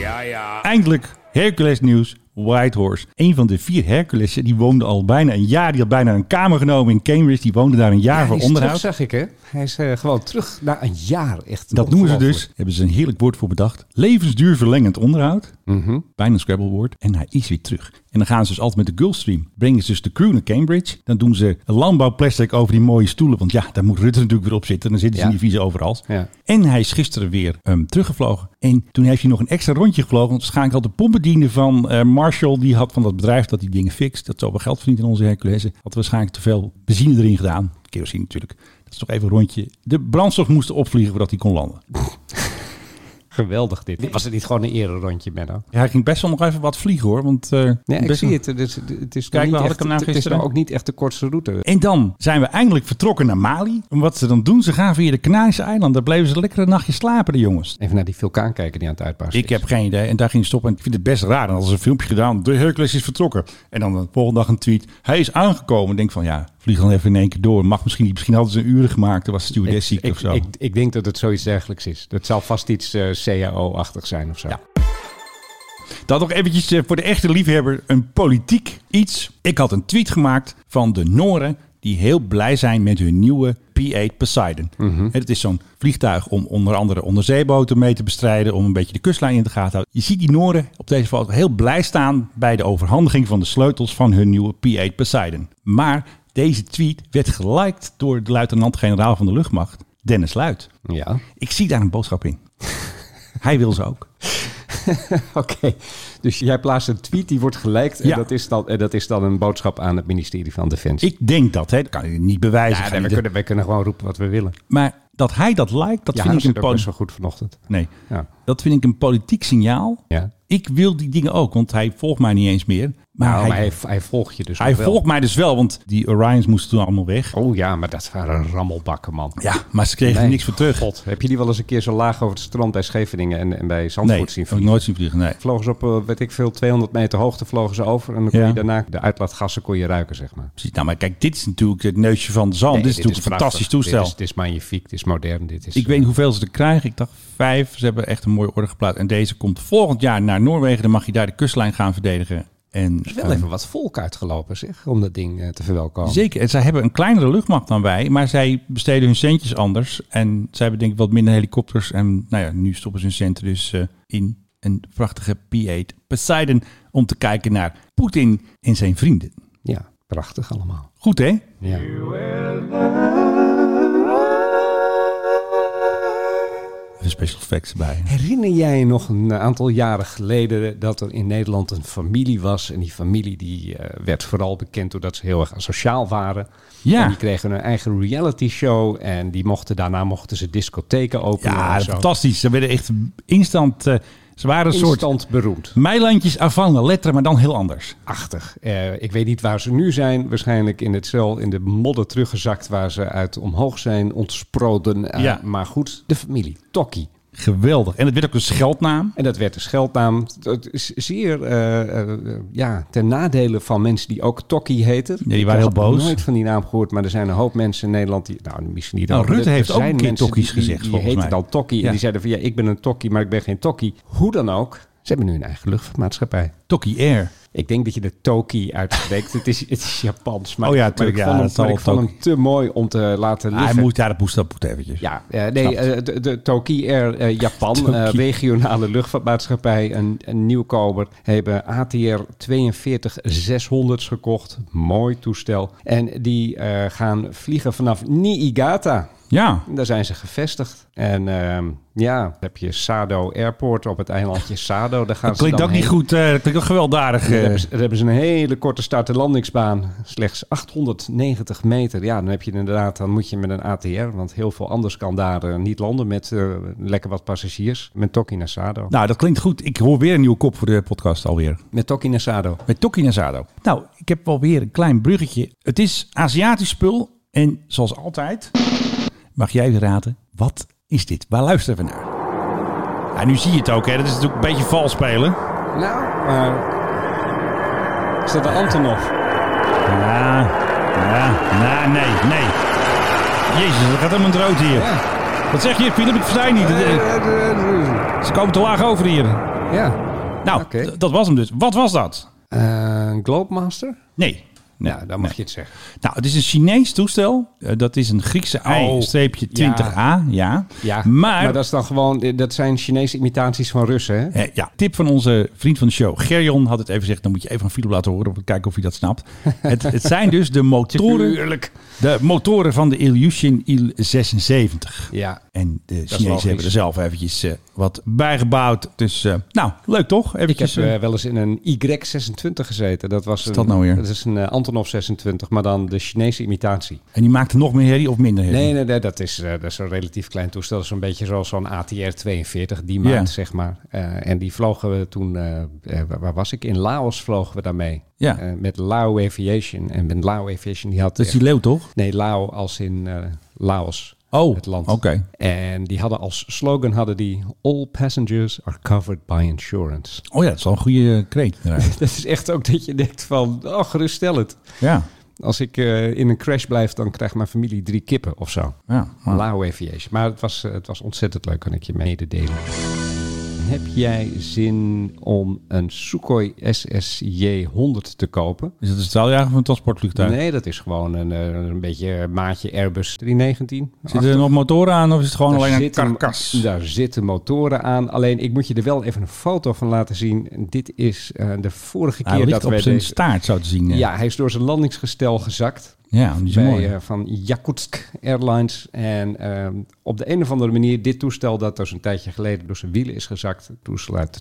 Speaker 7: Ja, ja.
Speaker 1: Eindelijk Hercules nieuws. Whitehorse. Een van de vier Herculessen, die woonde al bijna een jaar. Die had bijna een kamer genomen in Cambridge. Die woonde daar een jaar
Speaker 2: Hij
Speaker 1: voor
Speaker 2: is terug,
Speaker 1: onderhoud.
Speaker 2: zag ik hè. Hij is eh, gewoon terug na een jaar. Echt
Speaker 1: Dat noemen ze dus,
Speaker 2: ongelooflijk.
Speaker 1: hebben ze een heerlijk woord voor bedacht. Levensduur verlengend onderhoud.
Speaker 2: Mhm.
Speaker 1: Bijna een Scrabble woord. En hij is weer terug. En dan gaan ze dus altijd met de Gulfstream. Brengen ze dus de crew naar Cambridge. Dan doen ze een landbouwplastic over die mooie stoelen. Want ja, daar moet Rutte natuurlijk weer op zitten. Dan zitten ze
Speaker 2: Ja.
Speaker 1: in die vieze overal.
Speaker 2: Ja.
Speaker 1: En hij is gisteren weer ehm, teruggevlogen. En toen heeft hij nog een extra rondje gevlogen. Want waarschijnlijk had de pompbediende van eh, Marshall, die had van dat bedrijf dat die dingen fixt, dat zoveel geld verdient in onze Herculesen, had waarschijnlijk te veel benzine erin gedaan. Kerosine natuurlijk. Dat is toch even een rondje. De brandstof moest opvliegen voordat hij kon landen. dus.
Speaker 2: Geweldig dit. Was het niet gewoon een ere rondje, Menno?
Speaker 1: Ja, hij ging best wel nog even wat vliegen hoor. Want, eh,
Speaker 2: Nee, ik
Speaker 1: best
Speaker 2: zie
Speaker 1: wel-
Speaker 2: het. Het is, het is,
Speaker 1: Kijk,
Speaker 2: nog
Speaker 1: waar
Speaker 2: niet
Speaker 1: had
Speaker 2: echt,
Speaker 1: ik hem nou
Speaker 2: het is
Speaker 1: gisteren?
Speaker 2: nou ook niet echt de kortste route.
Speaker 1: En dan zijn we eindelijk vertrokken naar Mali. En wat ze dan doen, ze gaan via de Canarische eilanden. Daar bleven ze lekker een nachtje slapen, de jongens.
Speaker 2: Even naar die vulkaan kijken die aan het uitbarsten
Speaker 1: Ik heb geen idee. En daar ging het stoppen. En ik vind het best raar. Dan hadden ze een filmpje gedaan. De Hercules is vertrokken. En dan de volgende dag een tweet. Hij is aangekomen. Ik denk van ja, Vlieg dan even in één keer door. Mag misschien niet. Misschien hadden ze een uren gemaakt. Er was stewardess ziek
Speaker 2: ik,
Speaker 1: of zo.
Speaker 2: Ik, ik denk dat het zoiets dergelijks is. Dat zal vast iets eh, CAO-achtig zijn of zo.
Speaker 1: Ja. Dan nog eventjes eh, voor de echte liefhebber een politiek iets. Ik had een tweet gemaakt van de Noren die heel blij zijn met hun nieuwe P-8 Poseidon. Hè, Dat is zo'n vliegtuig om onder andere onderzeeboten mee te bestrijden... om een beetje de kustlijn in de gaten te houden. Je ziet die Noren op deze foto heel blij staan... bij de overhandiging van de sleutels van hun nieuwe P-8 Poseidon. Maar deze tweet werd geliked door de luitenant-generaal van de luchtmacht... Dennis Luit.
Speaker 2: Ja.
Speaker 1: Ik zie daar een boodschap in. Hij wil ze ook.
Speaker 2: [LAUGHS] Oké, dus jij plaatst een tweet, die wordt geliked. En,
Speaker 1: Ja.
Speaker 2: dat is dan, en dat is dan een boodschap aan het ministerie van Defensie.
Speaker 1: Ik denk dat, hè. dat kan je niet bewijzen.
Speaker 2: ja,
Speaker 1: Ga
Speaker 2: nee,
Speaker 1: niet
Speaker 2: we,
Speaker 1: de-
Speaker 2: kunnen, we kunnen gewoon roepen wat we willen.
Speaker 1: Maar dat hij dat lijkt, dat,
Speaker 2: Ja,
Speaker 1: vind, ik
Speaker 2: zit
Speaker 1: een
Speaker 2: ook best
Speaker 1: poli-
Speaker 2: wel goed vanochtend.
Speaker 1: nee,
Speaker 2: Ja.
Speaker 1: dat vind ik een politiek signaal.
Speaker 2: Ja.
Speaker 1: Ik wil die dingen ook, want hij volgt mij niet eens meer. Maar
Speaker 2: Nou,
Speaker 1: hij,
Speaker 2: maar
Speaker 1: hij,
Speaker 2: hij, hij volgt je dus nog wel.
Speaker 1: volgt mij dus wel, want die Orions moesten toen allemaal weg.
Speaker 2: Oh ja, maar dat waren rammelbakken, man.
Speaker 1: Ja, maar ze kregen er
Speaker 2: Nee,
Speaker 1: niks voor terug.
Speaker 2: God, heb je die wel eens een keer zo laag over het strand bij Scheveningen en, en bij
Speaker 1: nee,
Speaker 2: Zandvoort
Speaker 1: heb
Speaker 2: zien
Speaker 1: ik
Speaker 2: vliegen?
Speaker 1: nooit zien vliegen. Nee.
Speaker 2: Vlogen ze op, eh, weet ik veel, 200 meter hoogte vlogen ze over. En dan kon
Speaker 1: Ja.
Speaker 2: je daarna de uitlaatgassen kon je ruiken, zeg maar.
Speaker 1: Precies. Nou, maar kijk, dit is natuurlijk het neusje van de zalm.
Speaker 2: Nee,
Speaker 1: dit is natuurlijk een
Speaker 2: prachtig.
Speaker 1: fantastisch toestel.
Speaker 2: Dit is, dit is magnifiek, dit is modern. Dit is, eh,
Speaker 1: ik weet niet hoeveel ze er krijgen. Ik dacht vijf. Ze hebben echt een mooie orde geplaatst. En deze komt volgend jaar naar Noorwegen. Dan mag je daar de kustlijn gaan verdedigen. En,
Speaker 2: Er is wel even wat volk uitgelopen, zeg, om dat ding eh, te verwelkomen.
Speaker 1: Zeker. En zij hebben een kleinere luchtmacht dan wij, maar zij besteden hun centjes anders. En zij hebben denk ik wat minder helikopters. En nou ja, nu stoppen ze hun centen dus eh, in een prachtige P-8 Poseidon om te kijken naar Poetin en zijn vrienden.
Speaker 2: Ja, prachtig allemaal.
Speaker 1: Goed hè?
Speaker 2: Ja.
Speaker 1: Even special effects erbij.
Speaker 2: Herinner jij je nog een aantal jaren geleden dat er in Nederland een familie was? En die familie die eh, werd vooral bekend doordat ze heel erg asociaal waren.
Speaker 1: Ja.
Speaker 2: En die kregen hun eigen reality show en die mochten, daarna mochten ze discotheken openen.
Speaker 1: Ja,
Speaker 2: en zo.
Speaker 1: fantastisch. Ze werden echt instant, eh, ze waren een soort
Speaker 2: Instant beroemd.
Speaker 1: meilandjes avant la lettre, maar dan heel anders.
Speaker 2: Achtig. Eh, ik weet niet waar ze nu zijn. Waarschijnlijk in het cel, in de modder teruggezakt waar ze uit omhoog zijn, ontsproten. Eh,
Speaker 1: Ja.
Speaker 2: Maar goed, de familie. Tokkie.
Speaker 1: Geweldig. En het werd ook een scheldnaam.
Speaker 2: En dat werd een scheldnaam. Dat is zeer eh, eh, ja, ten nadele van mensen die ook Tokkie heten.
Speaker 1: die
Speaker 2: Ik
Speaker 1: waren heel
Speaker 2: had nog
Speaker 1: boos.
Speaker 2: nooit van die naam gehoord, maar er zijn een hoop mensen in Nederland die... Nou, misschien niet
Speaker 1: Nou,
Speaker 2: allemaal,
Speaker 1: Rutte
Speaker 2: er-
Speaker 1: heeft
Speaker 2: er
Speaker 1: ook
Speaker 2: zijn
Speaker 1: een keer
Speaker 2: mensen
Speaker 1: tokkies
Speaker 2: die- die-
Speaker 1: gezegd,
Speaker 2: Die,
Speaker 1: volgens
Speaker 2: heten
Speaker 1: mij.
Speaker 2: dan Tokkie
Speaker 1: Ja.
Speaker 2: en die zeiden van ja, ik ben een Tokkie, maar ik ben geen Tokkie. Hoe dan ook, ze hebben nu een eigen luchtvaartmaatschappij.
Speaker 1: Tokkie Air.
Speaker 2: Ik denk dat je de Toki uitspreekt. [LAUGHS] het, is, het is Japans, maar,
Speaker 1: Oh ja,
Speaker 2: maar
Speaker 1: tuurlijk,
Speaker 2: ik
Speaker 1: ja,
Speaker 2: vond, hem,
Speaker 1: het zal
Speaker 2: maar ik
Speaker 1: wel
Speaker 2: vond
Speaker 1: Toki.
Speaker 2: hem te mooi om te laten liggen.
Speaker 1: Hij moet daar de poest op eventjes.
Speaker 2: Ja, eh, nee, eh, de, de Toki Air eh, Japan,
Speaker 1: Toki.
Speaker 2: eh, regionale luchtvaartmaatschappij, een, een nieuwkoper, hebben ATR 42600's gekocht. Mooi toestel. En die eh, gaan vliegen vanaf Niigata.
Speaker 1: ja.
Speaker 2: Daar zijn ze gevestigd. En ehm, ja, dan heb je Sado Airport op het eilandje Sado. Daar gaan
Speaker 1: Dat
Speaker 2: ze
Speaker 1: klinkt
Speaker 2: dan
Speaker 1: ook niet
Speaker 2: heen.
Speaker 1: goed. eh, dat klinkt ook gewelddadig.
Speaker 2: Daar
Speaker 1: eh.
Speaker 2: hebben, ze, daar hebben ze een hele korte start- en landingsbaan. Slechts 890 meter. Ja, dan heb je inderdaad, dan moet je met een ATR. Want heel veel anders kan daar eh, niet landen met eh, lekker wat passagiers. Met Tokki Nasado.
Speaker 1: Nou, dat klinkt goed. Ik hoor weer een nieuwe kop voor de podcast alweer.
Speaker 2: Met Tokki Nasado.
Speaker 1: Met Tokki Nazado. Nou, ik heb wel weer een klein bruggetje. Het is Aziatisch spul. En zoals altijd, mag jij weer raden. Wat is dit? Waar luisteren we naar? Ja, nu zie je het ook, hè. Dat is natuurlijk een beetje vals spelen.
Speaker 2: Nou, maar... Is dat de Antonov?
Speaker 1: Ja, ja, ja, nee, nee. Jezus, dat gaat helemaal in het rood hier. Wat zeg je, Philip? Ik versta je niet. Ze komen te laag over hier.
Speaker 2: Ja.
Speaker 1: Nou,
Speaker 2: Oké.
Speaker 1: d- dat was hem dus. Wat was dat?
Speaker 2: Eh Globemaster?
Speaker 1: Nee. Nee,
Speaker 2: Ja, dan mag
Speaker 1: nee.
Speaker 2: je het zeggen.
Speaker 1: Nou, het is een Chinees toestel. Eh, dat is een Griekse
Speaker 2: Oh,
Speaker 1: I-20A. Ja.
Speaker 2: Ja,
Speaker 1: Maar,
Speaker 2: dat is dan gewoon... eh, Dat zijn Chinese imitaties van Russen, hè?
Speaker 1: eh, ja, tip van onze vriend van de show, Gerjon, had het even gezegd. Dan moet je even aan Philip laten horen om te kijken of hij dat
Speaker 2: [LAUGHS]
Speaker 1: snapt. het, het zijn dus de motoren,
Speaker 2: Tuurlijk.
Speaker 1: de motoren van de Ilyushin Il-76.
Speaker 2: Ja.
Speaker 1: En de
Speaker 2: logisch.
Speaker 1: Chinezen hebben er zelf eventjes eh, wat bijgebouwd. Dus, eh, nou, leuk toch?
Speaker 2: Ik heb
Speaker 1: Eventjes, eh,
Speaker 2: eh, wel eens in een Y26 gezeten. Dat was een,
Speaker 1: dat nou weer?
Speaker 2: Dat is een eh, Antonov 26, maar dan de Chinese imitatie.
Speaker 1: en die maakte nog meer herrie of minder herrie?
Speaker 2: Nee, nee, nee dat, is, eh, dat is een relatief klein toestel. Dat is een beetje zoals zo'n ATR 42, die maand,
Speaker 1: Ja.
Speaker 2: zeg maar. Eh, en die vlogen we toen, eh, eh, waar- waar was ik? In Laos vlogen we daarmee.
Speaker 1: Ja.
Speaker 2: Eh, met Lao Aviation. En met Lao Aviation, die had...
Speaker 1: Dat is
Speaker 2: echt-
Speaker 1: die leeuw toch?
Speaker 2: Nee, Lao als in eh, Laos.
Speaker 1: Oh,
Speaker 2: het land.
Speaker 1: oké.
Speaker 2: En die hadden als slogan hadden die... All passengers are covered by insurance. [LAUGHS]
Speaker 1: Oh ja, dat is wel een goede eh, kreet. inderdaad.
Speaker 2: Dat is echt ook dat je denkt van, oh, geruststellend.
Speaker 1: ja.
Speaker 2: Als ik eh, in een crash blijf, dan krijgt mijn familie drie kippen of zo.
Speaker 1: Ja, maar-
Speaker 2: Lao Aviation. Maar het was, eh, het was ontzettend leuk, kan ik je mededelen. Heb jij zin om een Sukhoi SSJ 100 te kopen?
Speaker 1: Is dat de straaljager van een transportvliegtuig?
Speaker 2: Nee, dat is gewoon een, eh, een beetje maatje Airbus 319.
Speaker 1: Zitten er nog motoren aan of is het gewoon alleen een
Speaker 2: zitten-
Speaker 1: karkas?
Speaker 2: daar zitten motoren aan. Alleen, ik moet je er wel even een foto van laten zien. Dit is eh, de vorige
Speaker 1: Hij
Speaker 2: keer
Speaker 1: ligt
Speaker 2: dat
Speaker 1: op
Speaker 2: we
Speaker 1: zijn
Speaker 2: deze...
Speaker 1: staart, zo te zien. eh.
Speaker 2: Ja, hij is door zijn landingsgestel gezakt.
Speaker 1: ja die is
Speaker 2: bij,
Speaker 1: mooi.
Speaker 2: eh, van Yakutsk Airlines. En ehm, op de een of andere manier, dit toestel dat dus een tijdje geleden door zijn wielen is gezakt. Het toestel uit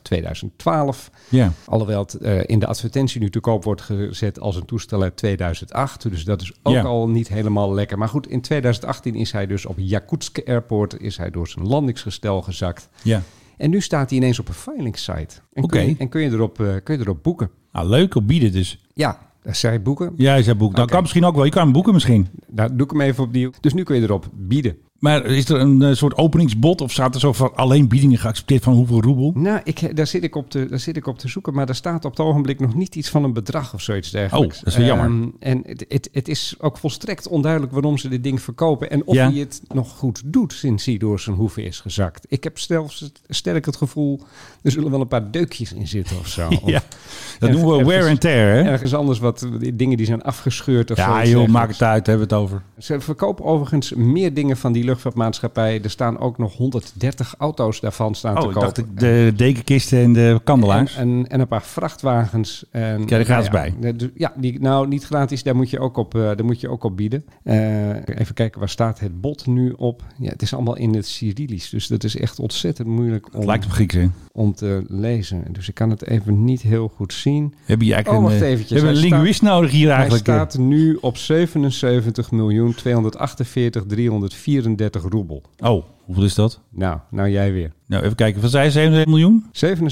Speaker 2: 2012.
Speaker 1: ja.
Speaker 2: Alhoewel het eh, in de advertentie nu te koop wordt gezet als een toestel uit 2008. Dus dat is ook
Speaker 1: Ja.
Speaker 2: al niet helemaal lekker. Maar goed, in 2018 is hij dus op Yakutsk Airport is hij door zijn landingsgestel gezakt.
Speaker 1: ja.
Speaker 2: En nu staat hij ineens op een filing site. En,
Speaker 1: Oké.
Speaker 2: kun, je, en kun, je erop, eh, kun je erop boeken.
Speaker 1: Nou, leuk op bieden dus.
Speaker 2: Ja, zij boeken.
Speaker 1: Jij zei boek. Dat
Speaker 2: Oké.
Speaker 1: kan misschien ook wel. Je kan hem boeken misschien.
Speaker 2: Nou, doe ik hem even opnieuw. Dus nu kun je erop bieden.
Speaker 1: Maar is er een eh, soort openingsbod of staat er zo van alleen biedingen geaccepteerd van hoeveel roebel?
Speaker 2: Nou, ik, daar, zit ik op te, daar zit ik op te zoeken, maar daar staat op het ogenblik nog niet iets van een bedrag of zoiets dergelijks.
Speaker 1: Oh, dat is wel jammer.
Speaker 2: Ehm, en het, het, het is ook volstrekt onduidelijk waarom ze dit ding verkopen en of
Speaker 1: Ja.
Speaker 2: hij het nog goed doet sinds hij door zijn hoeven is gezakt. Ik heb zelfs sterk het gevoel, er zullen wel een paar deukjes in zitten of
Speaker 1: [LAUGHS]
Speaker 2: zo. Of
Speaker 1: Ja, dat
Speaker 2: Erg-
Speaker 1: noemen we wear
Speaker 2: ergens-
Speaker 1: and tear, hè?
Speaker 2: Ergens anders wat dingen die zijn afgescheurd of
Speaker 1: Ja,
Speaker 2: zoiets
Speaker 1: joh,
Speaker 2: dergelijks.
Speaker 1: maak het uit, hebben we het over.
Speaker 2: Ze verkopen overigens meer dingen van die luchtvaartmaatschappij. Er staan ook nog 130 auto's daarvan staan te
Speaker 1: Oh, ik
Speaker 2: kopen.
Speaker 1: dacht ik de dekenkisten en de kandelaars.
Speaker 2: En, en, en een paar vrachtwagens. En,
Speaker 1: Krijg je er gratis
Speaker 2: nou ja, eh, dus- Ja, die, nou niet gratis, daar moet je ook op, eh, daar moet je ook op bieden. Eh, even kijken, waar staat het bod nu op? Ja, het is allemaal in het Cyrillisch, dus dat is echt ontzettend moeilijk
Speaker 1: Het
Speaker 2: om,
Speaker 1: lijkt op Grieks, hè?
Speaker 2: om te lezen. Dus ik kan het even niet heel goed zien.
Speaker 1: Hebben je eigenlijk
Speaker 2: Oh,
Speaker 1: een,
Speaker 2: wacht
Speaker 1: eh,
Speaker 2: eventjes.
Speaker 1: hebben een
Speaker 2: Hij staat-
Speaker 1: linguist nodig hier eigenlijk?
Speaker 2: Hij
Speaker 1: eh?
Speaker 2: staat nu op 77.248.334 roebel.
Speaker 1: Oh, hoeveel is dat?
Speaker 2: Nou, nou jij weer.
Speaker 1: Nou, even kijken. Van zij 7 miljoen?
Speaker 2: 77.248.334.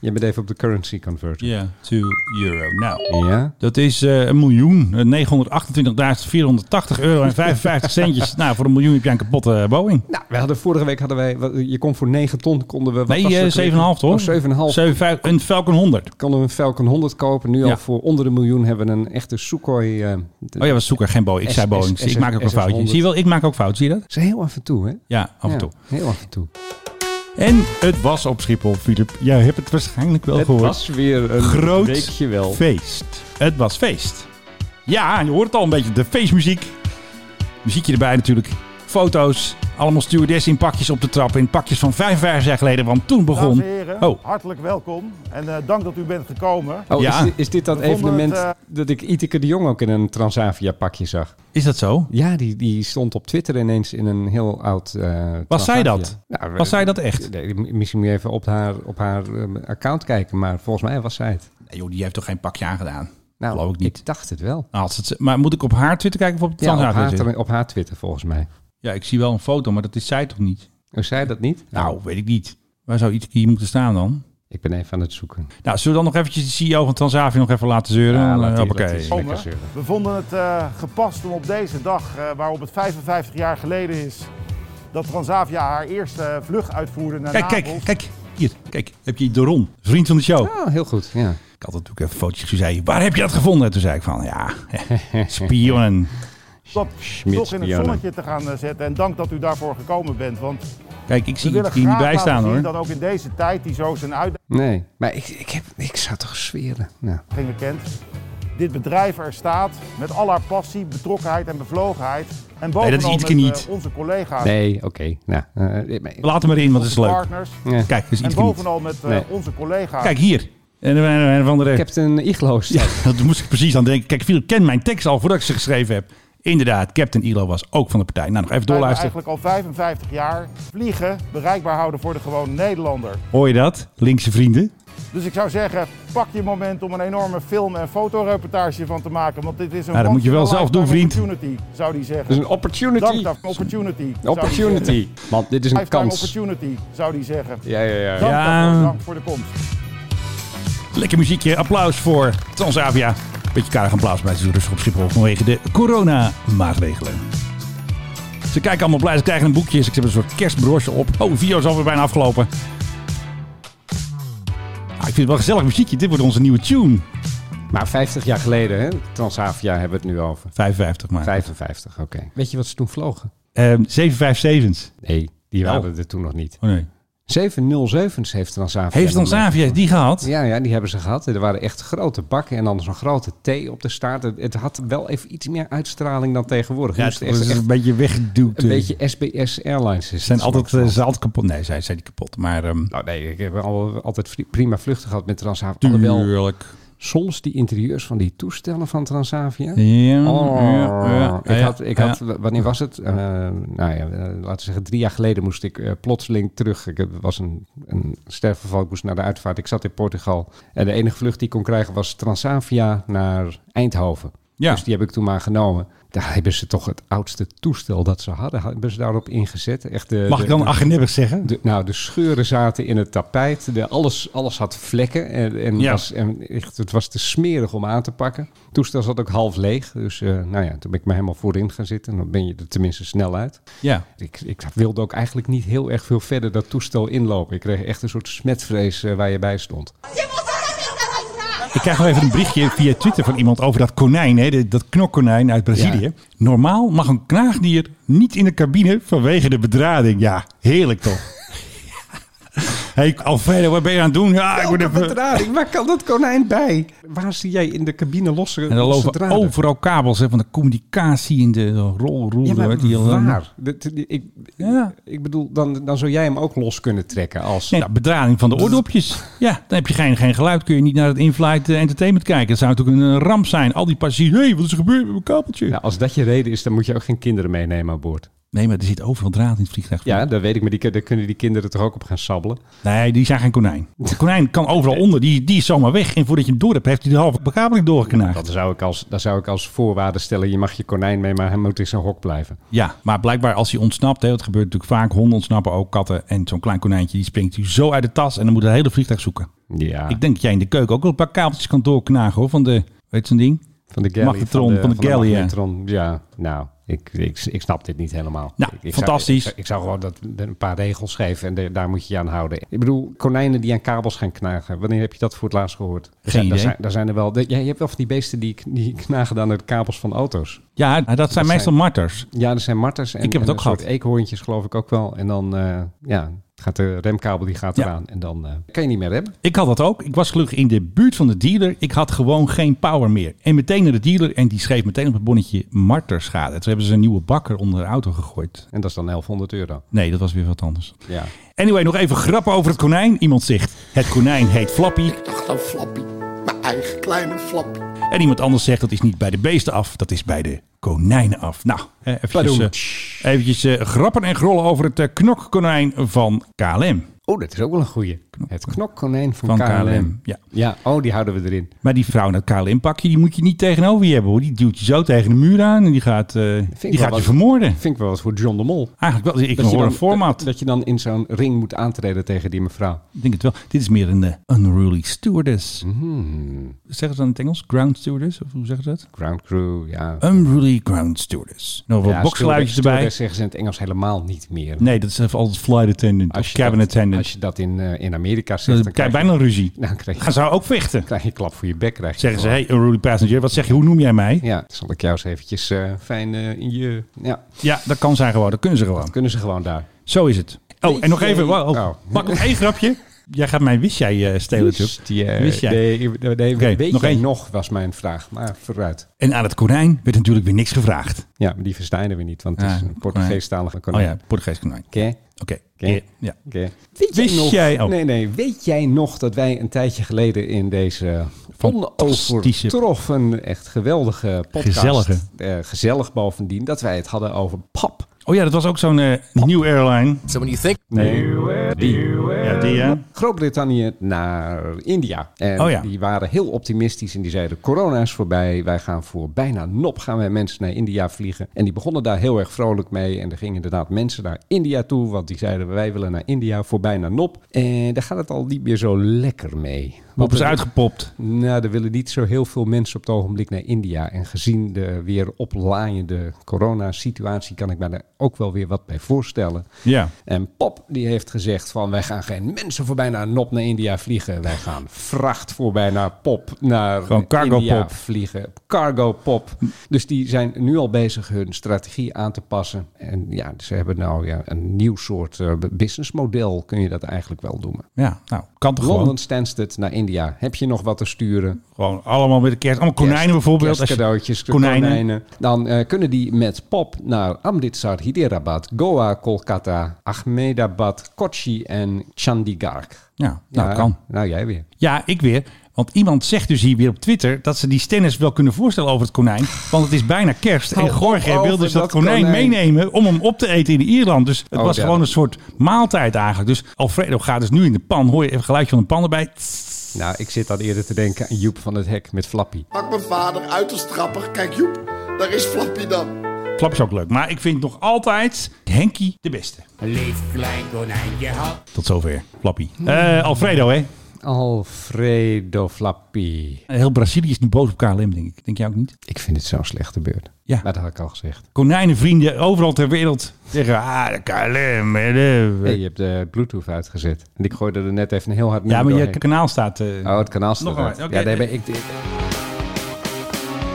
Speaker 2: Je bent even op de currency converter.
Speaker 1: Ja, 2 euro. Nou,
Speaker 2: Ja?
Speaker 1: dat is eh een miljoen. eh, 928.480 euro en [LAUGHS] 55 centjes. Nou, voor een miljoen heb jij een kapotte eh, Boeing.
Speaker 2: Nou, we hadden vorige week hadden wij, wat- je kon voor 9 ton konden we. wat was
Speaker 1: Nee,
Speaker 2: dat
Speaker 1: eh,
Speaker 2: ook
Speaker 1: 7,5
Speaker 2: weer?
Speaker 1: hoor.
Speaker 2: Oh, 7,5
Speaker 1: 7,5. Een Falcon 100.
Speaker 2: konden we een Falcon 100 kopen. Nu
Speaker 1: Ja.
Speaker 2: al voor onder de miljoen hebben we een echte Sukhoi. eh, de-
Speaker 1: Oh ja, was zoeker, geen Boeing. Ik
Speaker 2: S-
Speaker 1: zei Boeing.
Speaker 2: S-
Speaker 1: ik maak ook een
Speaker 2: SS100.
Speaker 1: foutje. Zie je wel, ik maak ook fout. Zie je dat?
Speaker 2: Ze heel af en toe, hè?
Speaker 1: Ja, af en
Speaker 2: Ja,
Speaker 1: toe.
Speaker 2: Heel af en toe.
Speaker 1: En het was op Schiphol, Filip. Jij hebt het waarschijnlijk wel gehoord.
Speaker 2: weer een
Speaker 1: Groot
Speaker 2: weekje wel.
Speaker 1: feest. Het was feest. Ja, je hoort het al een beetje. De feestmuziek. Muziekje erbij natuurlijk. Foto's. Allemaal stewardessen in pakjes op de trap. In pakjes van 55 jaar geleden, want toen begon...
Speaker 8: Dames en heren,
Speaker 1: Oh,
Speaker 8: hartelijk welkom en eh, dank dat u bent gekomen.
Speaker 2: Oh,
Speaker 1: Ja.
Speaker 2: is, dit, is dit dat
Speaker 8: We vonden
Speaker 2: evenement
Speaker 8: het,
Speaker 2: dat ik Iteke de Jong ook in een Transavia pakje zag?
Speaker 1: is dat zo?
Speaker 2: Ja, die, die stond op Twitter ineens in een heel oud. eh,
Speaker 1: Was zij
Speaker 2: Transavia.
Speaker 1: dat?
Speaker 2: Nou, we-
Speaker 1: Was zij dat echt?
Speaker 2: Nee, Misschien moet je even op haar, op haar eh, account kijken, maar volgens mij was zij het.
Speaker 1: Nee, joh, die heeft toch geen pakje aangedaan?
Speaker 2: Nou,
Speaker 1: Geloof ik niet.
Speaker 2: ik dacht het wel.
Speaker 1: Nou, had ze het- maar moet ik op haar Twitter kijken of op de
Speaker 2: Ja, op
Speaker 1: Transavia
Speaker 2: haar,
Speaker 1: Twitter?
Speaker 2: op haar Twitter volgens mij.
Speaker 1: Ja, ik zie wel een foto, maar dat is zij toch niet?
Speaker 2: Oh, zei dat niet?
Speaker 1: Nou, weet ik niet. Waar zou iets hier moeten staan dan?
Speaker 2: Ik ben even aan het zoeken.
Speaker 1: Nou, zullen we dan nog eventjes de CEO van Transavia nog even laten zeuren?
Speaker 2: Ja,
Speaker 1: Dan,
Speaker 2: laat
Speaker 1: eh,
Speaker 2: die-
Speaker 1: hoppakee.
Speaker 2: laat die-
Speaker 8: Komen.
Speaker 2: lekker zeuren.
Speaker 8: We vonden het eh, gepast om op deze dag, eh, waarop het 55 jaar geleden is, dat Transavia haar eerste eh, vlucht uitvoerde naar
Speaker 1: Kijk,
Speaker 8: Napels.
Speaker 1: kijk, kijk. Hier, kijk. Heb je Doron, vriend van de show.
Speaker 2: Oh, heel goed. Ja.
Speaker 1: Ik had natuurlijk even foto's gezegd. Waar heb je dat gevonden? Toen zei ik van, ja, [LAUGHS] spionnen.
Speaker 8: Dat toch in het
Speaker 2: Schmidspionnen.
Speaker 8: zonnetje te gaan eh, zetten en dank dat u daarvoor gekomen bent. Want
Speaker 1: Kijk, ik zie
Speaker 8: we willen
Speaker 1: iets die niet
Speaker 8: graag
Speaker 1: bij
Speaker 8: laten
Speaker 1: staan
Speaker 8: zien
Speaker 1: hoor.
Speaker 8: dat ook in deze tijd die zo zijn uitdaging
Speaker 2: Nee, maar ik, ik, heb, ik zou toch zweren.
Speaker 8: Ah.
Speaker 2: Nou,
Speaker 8: kent, dit bedrijf er staat met al haar passie, betrokkenheid en bevlogenheid. En bovenal
Speaker 1: Ietke
Speaker 8: met eh,
Speaker 1: niet.
Speaker 8: onze collega's.
Speaker 2: nee, oké. Nou, eh, maar-
Speaker 1: Laat hem erin, want het is leuk.
Speaker 8: partners.
Speaker 2: Ja.
Speaker 1: Kijk, dat is
Speaker 8: En
Speaker 1: iets niet.
Speaker 8: bovenal met eh,
Speaker 2: Nee.
Speaker 8: onze collega's.
Speaker 1: Kijk, hier. En dan een van de...
Speaker 2: ik heb een iglo staan.
Speaker 1: Ja, [LAUGHS] dat moest ik precies aan denken. Kijk, Philip kent mijn tekst al voordat ik ze geschreven heb. Inderdaad, Captain Ilo was ook van de partij. Nou, nog even
Speaker 8: zijn we
Speaker 1: doorluisteren.
Speaker 8: eigenlijk al 55 jaar vliegen bereikbaar houden voor de gewone Nederlander.
Speaker 1: Hoor je dat? Linkse vrienden.
Speaker 8: Dus ik zou zeggen, pak je moment om een enorme film- en fotoreportage van te maken. Want dit is
Speaker 1: Ja,
Speaker 8: een
Speaker 1: Nou, dat moet je wel
Speaker 8: once in a
Speaker 1: zelf doen,
Speaker 8: lifetime
Speaker 1: vriend.
Speaker 8: opportunity, zou die zeggen.
Speaker 2: Dat is een opportunity.
Speaker 8: Dank daarvoor. Opportunity. zou die zeggen.
Speaker 2: Opportunity. Man, dit is een
Speaker 8: Lifetime
Speaker 2: kans.
Speaker 8: opportunity, zou die zeggen.
Speaker 2: Ja, ja, ja.
Speaker 8: Dank
Speaker 1: Ja.
Speaker 8: daarvoor. Dank voor de komst.
Speaker 1: Lekker muziekje. Applaus voor Transavia. Beetje karig applaus bij ze rustig op Schiphol vanwege de coronamaatregelen. Ze kijken allemaal blij. Ze krijgen een boekje. Ze hebben een soort kerstbrosje op. Oh, de video is alweer bijna afgelopen. Ah, ik vind het wel een gezellig muziekje. Dit wordt onze nieuwe tune.
Speaker 9: Maar 50 jaar geleden, hè? Transavia hebben we het nu over.
Speaker 1: 55 maar.
Speaker 9: 55, oké. Weet je wat ze toen vlogen?
Speaker 1: Ehm 757's.
Speaker 9: Nee, die
Speaker 1: Oh.
Speaker 9: waren er toen nog niet.
Speaker 1: Oh nee.
Speaker 9: 707's heeft Transavia.
Speaker 1: Heeft
Speaker 9: nog mee.
Speaker 1: Transavia die gehad?
Speaker 9: Ja, ja, die hebben ze gehad. Er waren echt grote bakken en dan zo'n grote T op de staart. Het, het had wel even iets meer uitstraling dan tegenwoordig.
Speaker 1: Ja,
Speaker 9: Ja, het
Speaker 1: het
Speaker 9: echt,
Speaker 1: is
Speaker 9: echt
Speaker 1: een beetje weggeduwd.
Speaker 9: een beetje SBS Airlines. Is het.
Speaker 1: Ze zijn altijd,
Speaker 9: Smaakvol.
Speaker 1: eh, ze zijn altijd kapot. Nee, zij zijn niet kapot. Maar ehm
Speaker 9: Nou nee, ik heb al, altijd vri- prima vluchten gehad met Transavia. Alhoewel,
Speaker 1: tuurlijk.
Speaker 9: soms die interieurs van die toestellen van Transavia.
Speaker 1: Ja,
Speaker 9: Oh,
Speaker 1: ja, ja,
Speaker 9: ik
Speaker 1: ja,
Speaker 9: had, ik
Speaker 1: ja.
Speaker 9: had, wanneer was het? Eh, nou ja, eh, laten we zeggen, drie jaar geleden moest ik eh, plotseling terug. Ik heb- was een, een sterfgeval, ik moest naar de uitvaart. Ik zat in Portugal en de enige vlucht die ik kon krijgen was Transavia naar Eindhoven.
Speaker 1: Ja.
Speaker 9: Dus die heb ik toen maar genomen. Daar hebben ze toch het oudste toestel dat ze hadden, hebben ze daarop ingezet. Echt de,
Speaker 1: Mag
Speaker 9: eh, de-
Speaker 1: ik dan agenibig zeggen?
Speaker 9: de- nou, de scheuren zaten in het tapijt. De, alles, alles had vlekken. En, en,
Speaker 1: Ja.
Speaker 9: was, en echt, het was te smerig om aan te pakken. Het toestel zat ook half leeg. Dus eh, nou ja, toen ben ik me helemaal voorin gaan zitten. En dan ben je er tenminste snel uit.
Speaker 1: Ja.
Speaker 9: Ik, ik wilde ook eigenlijk niet heel erg veel verder dat toestel inlopen. Ik kreeg echt een soort smetvrees eh, waar je bij stond.
Speaker 1: Ik krijg nog even een berichtje via Twitter van iemand over dat konijn, hè, de- dat knokkonijn uit Brazilië.
Speaker 9: Ja.
Speaker 1: Normaal mag een knaagdier niet in de cabine vanwege de bedrading. Ja, heerlijk
Speaker 9: [LAUGHS]
Speaker 1: toch? hey, Alfredo, wat ben je aan het doen? Ja, ik word
Speaker 9: Welke
Speaker 1: even...
Speaker 9: bedrading? Waar kan dat konijn bij? Waar zie jij in de cabine losse
Speaker 1: En er
Speaker 9: losse
Speaker 1: lopen
Speaker 9: draden?
Speaker 1: overal kabels hè, van de communicatie in de rol, rol,
Speaker 9: Ja, maar
Speaker 1: weet je wel.
Speaker 9: waar? Dat- Ik,
Speaker 1: Ja.
Speaker 9: ik bedoel, dan, dan zou jij hem ook los kunnen trekken als...
Speaker 1: Nee, bedrading van de oordopjes. Ja, dan heb je geen, geen geluid. Kun je niet naar het in-flight eh, entertainment kijken. Dat zou natuurlijk een eh, ramp zijn. Al die passagiers. Hé, hey, wat is er gebeurd met mijn kabeltje?
Speaker 9: Nou, als dat je reden is, dan moet je ook geen kinderen meenemen aan boord.
Speaker 1: Nee, maar er zit overal draad in het vliegtuig.
Speaker 9: Ja, dat weet ik, maar die, kun- daar kunnen die kinderen toch ook op gaan sabbelen.
Speaker 1: Nee, die zijn geen konijn. De konijn kan overal onder. Die, die is zomaar weg. En voordat je hem door hebt, heeft hij de halve bekabeling doorgeknaagd.
Speaker 9: Dat zou ik als, dat zou ik als voorwaarde stellen. Je mag je konijn mee, maar hij moet in zijn hok blijven.
Speaker 1: Ja, maar blijkbaar als hij ontsnapt, hè, dat gebeurt natuurlijk vaak. Honden ontsnappen ook, katten. En zo'n klein konijntje, die springt hij zo uit de tas. En dan moet het hele vliegtuig zoeken.
Speaker 9: Ja,
Speaker 1: Ik denk dat jij in de keuken ook wel een paar kabeltjes kan doorknagen, hoor. Van de, weet je zo'n ding?
Speaker 9: van de galley.
Speaker 1: magnetron, van de galley, ja.
Speaker 9: magnetron. Ja, nou, ik, ik, ik snap dit niet helemaal.
Speaker 1: Nou,
Speaker 9: ik, ik
Speaker 1: fantastisch.
Speaker 9: Zou, ik, zou gewoon dat, een paar regels geven en de- daar moet je je aan houden. Ik bedoel, konijnen die aan kabels gaan knagen. Wanneer heb je dat voor het laatst gehoord? Er zijn-
Speaker 1: idee.
Speaker 9: Daar zijn, daar zijn er wel... Ja, je hebt wel van die beesten die, die knagen dan de kabels van auto's.
Speaker 1: Ja, nou, dat zijn meestal marters.
Speaker 9: Ja, er zijn marters en,
Speaker 1: Ik heb het
Speaker 9: en
Speaker 1: ook
Speaker 9: een soort
Speaker 1: gehad.
Speaker 9: eekhoorntjes geloof ik ook wel. En dan eh, ja, gaat de remkabel die gaat
Speaker 1: Ja.
Speaker 9: eraan en dan eh, kan je niet meer remmen.
Speaker 1: Ik had dat ook. Ik was gelukkig in de buurt van de dealer. Ik had gewoon geen power meer. En meteen naar de dealer en die schreef meteen op het bonnetje marterschade. Toen hebben ze een nieuwe bakker onder de auto gegooid.
Speaker 9: En dat is dan 1100 euro.
Speaker 1: Nee, dat was weer wat anders.
Speaker 9: Ja.
Speaker 1: Anyway, nog even grappen over het konijn. Iemand zegt, het konijn heet Flappy.
Speaker 4: Ik dacht aan Flappy. Mijn eigen kleine Flappy.
Speaker 1: En iemand anders zegt, dat is niet bij de beesten af, dat is bij de konijnen af. Nou, eh, eventjes,
Speaker 9: Pardon.
Speaker 1: eh, eventjes eh, grappen en grollen over het eh, knokkonijn van KLM.
Speaker 9: Oh, dat is ook wel een goeie. Het knokkonijn van,
Speaker 1: Van
Speaker 9: KLM.
Speaker 1: KLM, ja.
Speaker 9: ja, oh, die houden we erin.
Speaker 1: Maar die vrouw in het KLM-pakje, die moet je niet tegenover je hebben hoor. Die duwt je zo tegen de muur aan en die gaat, eh,
Speaker 9: wel
Speaker 1: die gaat je
Speaker 9: wat.
Speaker 1: vermoorden.
Speaker 9: Vind ik wel wat voor John de Mol.
Speaker 1: Eigenlijk wel, ik hoor een format.
Speaker 9: Dat, dat je dan in zo'n ring moet aantreden tegen die mevrouw.
Speaker 1: Ik denk het wel. Dit is meer een eh, unruly stewardess.
Speaker 9: Mhm.
Speaker 1: Zeggen ze dan in het Engels? Ground stewardess? Of hoe zeggen ze dat?
Speaker 9: Ground crew, ja.
Speaker 1: Unruly ground stewardess. Nog wat
Speaker 9: ja,
Speaker 1: boksgeluidjes
Speaker 9: stewardess-
Speaker 1: erbij.
Speaker 9: stewardess zeggen ze in het Engels helemaal niet meer.
Speaker 1: Nee, dat is even altijd flight attendant of cabin
Speaker 9: dat,
Speaker 1: attendant.
Speaker 9: Als je dat in, eh, in Amerika zegt,
Speaker 1: dan
Speaker 9: dan
Speaker 1: krijg
Speaker 9: krijg
Speaker 1: je bijna een ruzie.
Speaker 9: Nou, krijg je-
Speaker 1: Gaan ze ook vechten?
Speaker 9: krijg je een klap voor je bek. Krijg je
Speaker 1: Zeggen ze,
Speaker 9: gewoon.
Speaker 1: hey, unruly passenger, wat zeg je, hoe noem jij
Speaker 9: [LAUGHS]
Speaker 1: mij?
Speaker 9: Ja, zal ik jou eens eventjes eh, fijn eh, in je... Ja,
Speaker 1: Ja, dat kan zijn gewoon, dat kunnen ze gewoon.
Speaker 9: kunnen ze gewoon daar.
Speaker 1: Zo is het. Oh, en nog even, wow, oh,
Speaker 9: Oh.
Speaker 1: pak nog één grapje. Jij gaat mijn wist jij eh, stelen natuurlijk.
Speaker 9: jij?
Speaker 1: Wist jij?
Speaker 9: Nee, nee, nee,
Speaker 1: Oké,
Speaker 9: weet
Speaker 1: nog
Speaker 9: jij
Speaker 1: één.
Speaker 9: nog, was mijn vraag. Maar vooruit.
Speaker 1: En aan het konijn werd natuurlijk weer niks gevraagd.
Speaker 9: Ja, maar die verstaan we niet, want het
Speaker 1: Ja,
Speaker 9: is een Portugees-talige
Speaker 1: Ah, Oh
Speaker 9: konijn.
Speaker 1: ja, Portugees konijn.
Speaker 9: Oké,
Speaker 1: Oké.
Speaker 9: Oké.
Speaker 1: Ja.
Speaker 9: oké. Weet
Speaker 1: Wist jij- oh.
Speaker 9: Nee, nee. Weet jij nog dat wij een tijdje geleden in deze
Speaker 1: Fantastische-
Speaker 9: onovertroffen, echt geweldige podcast...
Speaker 1: Gezellige.
Speaker 9: eh, gezellig bovendien, dat wij het hadden over pap.
Speaker 1: Oh ja, dat was ook zo'n eh, nieuw airline.
Speaker 10: So when you think
Speaker 9: Nee.
Speaker 1: Ja, die ja.
Speaker 9: Groot-Brittannië naar India. En
Speaker 1: Oh ja.
Speaker 9: die waren heel optimistisch en die zeiden: corona is voorbij. Wij gaan voor bijna nop gaan wij mensen naar India vliegen. En die begonnen daar heel erg vrolijk mee. En er gingen inderdaad mensen naar India toe, want die zeiden: wij willen naar India voor bijna nop. En daar gaat het al niet meer zo lekker mee.
Speaker 1: Pop is
Speaker 9: er-
Speaker 1: uitgepopt.
Speaker 9: Nou, er willen niet zo heel veel mensen op het ogenblik naar India. En gezien de weer oplaaiende coronasituatie kan ik me daar ook wel weer wat bij voorstellen.
Speaker 1: Ja.
Speaker 9: En pap
Speaker 2: Nop, die heeft gezegd van wij gaan geen mensen voorbij naar Nop naar India vliegen. Wij gaan vracht voorbij naar Pop naar
Speaker 1: Gewoon cargo
Speaker 2: India
Speaker 1: pop.
Speaker 2: vliegen. Cargo Pop. Dus die zijn nu al bezig hun strategie aan te passen. En ja, ze hebben nou ja, een nieuw soort eh, businessmodel kun je dat eigenlijk wel noemen.
Speaker 1: Ja, nou, kan toch
Speaker 2: Londen
Speaker 1: gewoon.
Speaker 2: Stansted naar India. Heb je nog wat te sturen?
Speaker 1: Gewoon allemaal met de kerst. Allemaal konijnen
Speaker 2: Kerst-
Speaker 1: bijvoorbeeld. Als je-
Speaker 2: Kerstcadeautjes, konijnen.
Speaker 1: konijnen.
Speaker 2: Dan eh, kunnen die met pop naar Amritsar, Hyderabad, Goa, Kolkata, Ahmedabad, Kochi en Chandigarh.
Speaker 1: Ja, nou
Speaker 2: Ja,
Speaker 1: kan.
Speaker 2: Nou, jij weer.
Speaker 1: Ja, ik weer. Want iemand zegt dus hier weer op Twitter dat ze die stennis wel kunnen voorstellen over het konijn. Want het is bijna kerst.
Speaker 2: Hou
Speaker 1: en Gorge
Speaker 2: op
Speaker 1: wil
Speaker 2: over
Speaker 1: dus dat,
Speaker 2: dat
Speaker 1: konijn,
Speaker 2: konijn.
Speaker 1: meenemen om hem op te eten in Ierland. Dus het
Speaker 2: Oh,
Speaker 1: was
Speaker 2: ja.
Speaker 1: gewoon een soort maaltijd eigenlijk. Dus Alfredo gaat dus nu in de pan. Hoor je even geluidje van de pan erbij. Tss.
Speaker 2: Nou, ik zit dan eerder te denken aan Joep van het Hek met Flappy.
Speaker 3: Pak mijn vader uit de strapper. Kijk Joep, daar is Flappy dan.
Speaker 1: Klap is ook leuk. Maar ik vind nog altijd Henkie de beste.
Speaker 7: Lief klein konijntje had.
Speaker 1: Tot zover, Flappy. Eh, Alfredo, hè?
Speaker 2: Alfredo Flappy.
Speaker 1: Heel Brazilië is nu boos op KLM, denk ik. Denk jij ook niet?
Speaker 2: Ik vind het zo'n slechte beurt.
Speaker 1: Ja.
Speaker 2: Maar dat had ik al gezegd.
Speaker 1: Konijnenvrienden overal ter wereld zeggen... Ah, de KLM. eh, de-
Speaker 2: Hey, je hebt
Speaker 9: eh,
Speaker 2: de Bluetooth uitgezet. En ik gooide er net even een heel hard
Speaker 1: Ja, maar
Speaker 2: nummer
Speaker 1: je
Speaker 2: doorheen.
Speaker 1: kanaal staat... eh,
Speaker 2: Oh, het kanaal staat
Speaker 1: Nog een
Speaker 2: uit.
Speaker 1: keer, oké.
Speaker 2: Ja, nee, maar ik, ik,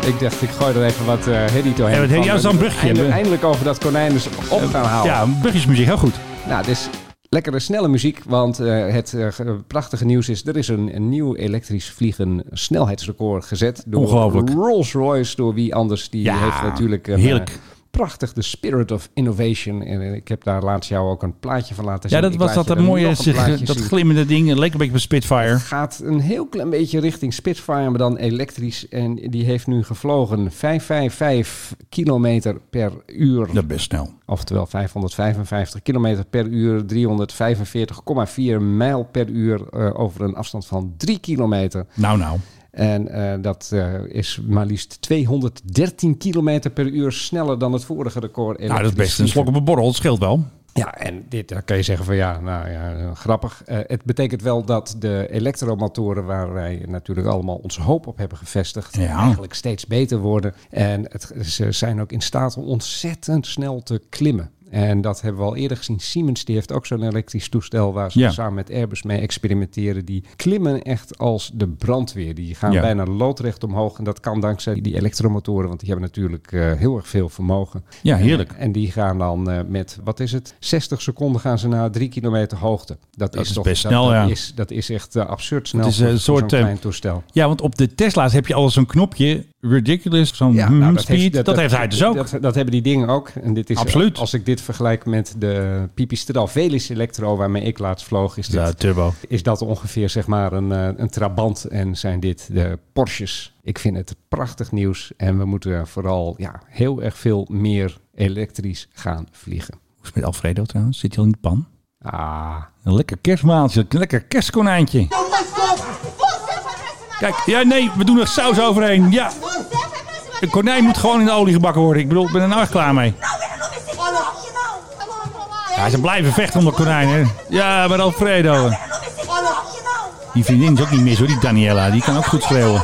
Speaker 2: ik dacht, ik gooi er even wat eh herrie doorheen.
Speaker 1: Ja, wat herrie,
Speaker 2: Van,
Speaker 1: ja, zo'n
Speaker 2: eh,
Speaker 1: brugje.
Speaker 2: Eindelijk, eindelijk over dat konijn eens op gaan halen.
Speaker 1: Ja, burgersmuziek, heel goed.
Speaker 2: Nou, dus lekkere snelle muziek, want eh, het eh, ge- prachtige nieuws is... er is een, een nieuw elektrisch vliegen snelheidsrecord gezet... door
Speaker 1: Ongelooflijk.
Speaker 2: Rolls-Royce, door wie anders. Die
Speaker 1: Ja,
Speaker 2: heeft natuurlijk... een,
Speaker 1: heerlijk.
Speaker 2: eh, Prachtig, de spirit of innovation. En eh, ik heb daar laatst jou ook een plaatje van laten zien.
Speaker 1: Ja, dat
Speaker 2: Ik
Speaker 1: was
Speaker 2: laat
Speaker 1: dat
Speaker 2: je
Speaker 1: dat
Speaker 2: er
Speaker 1: mooie, eh,
Speaker 2: nog een plaatje
Speaker 1: dat
Speaker 2: zien.
Speaker 1: glimmende ding. Het leek een beetje op een Spitfire.
Speaker 2: gaat een heel klein beetje richting Spitfire, maar dan elektrisch. En die heeft nu gevlogen 555 kilometer per uur.
Speaker 1: Dat best snel.
Speaker 2: Oftewel 555 kilometer per uur, 345,4 mijl per uur eh, over een afstand van 3 kilometer.
Speaker 1: Nou, nou.
Speaker 2: En eh, dat eh, is maar liefst 213 kilometer per uur sneller dan het vorige record.
Speaker 1: Nou, dat is
Speaker 2: elektrisch
Speaker 1: best een
Speaker 2: vliegen.
Speaker 1: slok op een borrel. Dat scheelt wel.
Speaker 2: Ja, Nou, en dit dan kan je zeggen van ja, nou ja, eh, grappig. Eh, het betekent wel dat de elektromotoren, waar wij natuurlijk allemaal onze hoop op hebben gevestigd,
Speaker 1: Ja.
Speaker 2: eigenlijk steeds beter worden. En het, ze zijn ook in staat om ontzettend snel te klimmen. En dat hebben we al eerder gezien. Siemens die heeft ook zo'n elektrisch toestel waar ze
Speaker 1: Ja.
Speaker 2: samen met Airbus mee experimenteren. Die klimmen echt als de brandweer. Die gaan
Speaker 1: Ja.
Speaker 2: bijna loodrecht omhoog. En dat kan dankzij die elektromotoren, want die hebben natuurlijk eh, heel erg veel vermogen.
Speaker 1: Ja, heerlijk.
Speaker 2: En die gaan dan eh, met, wat is het, 60 seconden gaan ze naar 3 kilometer hoogte. Dat,
Speaker 1: is
Speaker 2: toch,
Speaker 1: best
Speaker 2: dat,
Speaker 1: snel,
Speaker 2: dat
Speaker 1: ja.
Speaker 2: Is, dat is echt eh, absurd snel
Speaker 1: Het is,
Speaker 2: voor-
Speaker 1: eh, een
Speaker 2: voor zo'n
Speaker 1: soort, eh,
Speaker 2: klein toestel.
Speaker 1: Ja, want op de Tesla's heb je al zo'n knopje. Ridiculous, zo'n hmm,
Speaker 2: nou, dat
Speaker 1: speed.
Speaker 2: heeft-
Speaker 1: dat, heeft hij dus ook.
Speaker 2: Dat, dat hebben die dingen ook. En dit is, eh,
Speaker 1: Absoluut.
Speaker 2: Als ik dit vergelijk met de Pipistrel Velis Electro waarmee ik laatst vloog, is, dit,
Speaker 1: ja, turbo.
Speaker 2: is dat ongeveer zeg maar een, eh, een trabant en zijn dit de Porsches. Ik vind het prachtig nieuws en we moeten vooral ja, heel erg veel meer elektrisch gaan vliegen.
Speaker 1: Hoe is het met Alfredo trouwens? Zit hij al in de pan?
Speaker 2: Ah,
Speaker 1: Een lekker kerstmaaltje. Een lekker kerstkonijntje. Kijk, ja, nee, we doen er saus overheen. Ja, een konijn moet gewoon in de olie gebakken worden. Ik bedoel, ik ben er nou echt klaar mee. Ja, ze blijven vechten om dat konijn, hè? Ja, maar Alfredo. Die vriendin is ook niet mis, hoor, die Daniela. Die kan ook goed schreeuwen.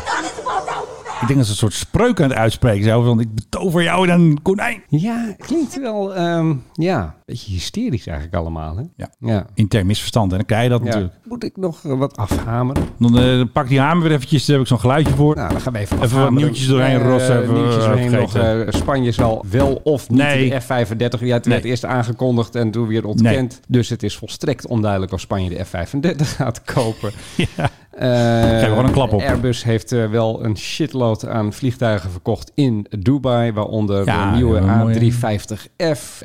Speaker 1: Ik denk dat ze een soort spreuk aan het uitspreken zijn. Want ik betover jou in een konijn.
Speaker 2: Ja, klinkt wel, ehm, ja, een beetje hysterisch eigenlijk allemaal. Hè?
Speaker 1: Ja.
Speaker 2: ja.
Speaker 1: Intern misverstand, en dan krijg je dat
Speaker 2: Ja.
Speaker 1: natuurlijk.
Speaker 2: Moet ik nog eh, wat afhameren?
Speaker 1: Dan eh, pak die hamer weer eventjes, daar heb ik zo'n geluidje voor.
Speaker 2: Nou, dan gaan we even
Speaker 1: Even wat
Speaker 2: afhameren.
Speaker 1: nieuwtjes doorheen
Speaker 2: Eh,
Speaker 1: rossen, even,
Speaker 2: nieuwtjes
Speaker 1: eh,
Speaker 2: doorheen
Speaker 1: vergeten.
Speaker 2: nog, eh, Spanje zal wel of niet
Speaker 1: Nee.
Speaker 2: de F-35. Ja, het werd
Speaker 1: Nee.
Speaker 2: eerst aangekondigd en toen weer ontkend. Dus het is volstrekt onduidelijk of Spanje de F-35 [LAUGHS] gaat kopen.
Speaker 1: [LAUGHS] Ja.
Speaker 2: Eh,
Speaker 1: Geef er wel een klap op.
Speaker 2: Airbus heeft eh, wel een shitload aan vliegtuigen verkocht in Dubai. Waaronder
Speaker 1: Ja,
Speaker 2: de nieuwe
Speaker 1: ja, mooi,
Speaker 2: A350F.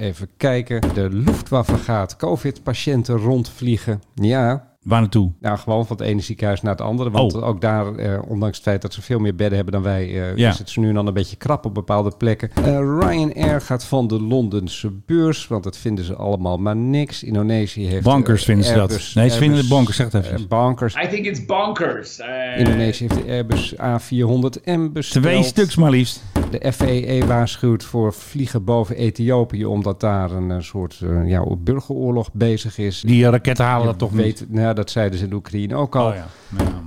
Speaker 2: Even kijken. De Luftwaffe gaat COVID-patiënten rondvliegen. Ja,
Speaker 1: Waar naartoe?
Speaker 2: nou, gewoon van het ene ziekenhuis naar het andere. Want
Speaker 1: Oh.
Speaker 2: ook daar, eh, ondanks het feit dat ze veel meer bedden hebben dan wij, eh,
Speaker 1: Ja.
Speaker 2: is het ze nu en dan een beetje krap op bepaalde plekken. Eh, Ryanair gaat van de Londense beurs, want dat vinden ze allemaal maar niks. Indonesië heeft.
Speaker 1: Bankers
Speaker 2: eh,
Speaker 1: vinden ze dat.
Speaker 2: Airbus-
Speaker 1: Nee, ze vinden
Speaker 2: Airbus,
Speaker 1: de bankers, zeg het even.
Speaker 2: eh, bankers.
Speaker 11: I think it's bonkers. Uh,
Speaker 2: Indonesië heeft de Airbus A400M besteld.
Speaker 1: Twee stuks maar liefst.
Speaker 2: De FEE waarschuwt voor vliegen boven Ethiopië, omdat daar een eh, soort eh, ja, burgeroorlog bezig is.
Speaker 1: Die raketten halen dat toch niet.
Speaker 2: weet, Nou, dat zeiden ze in de Oekraïne ook al.
Speaker 1: Oh ja.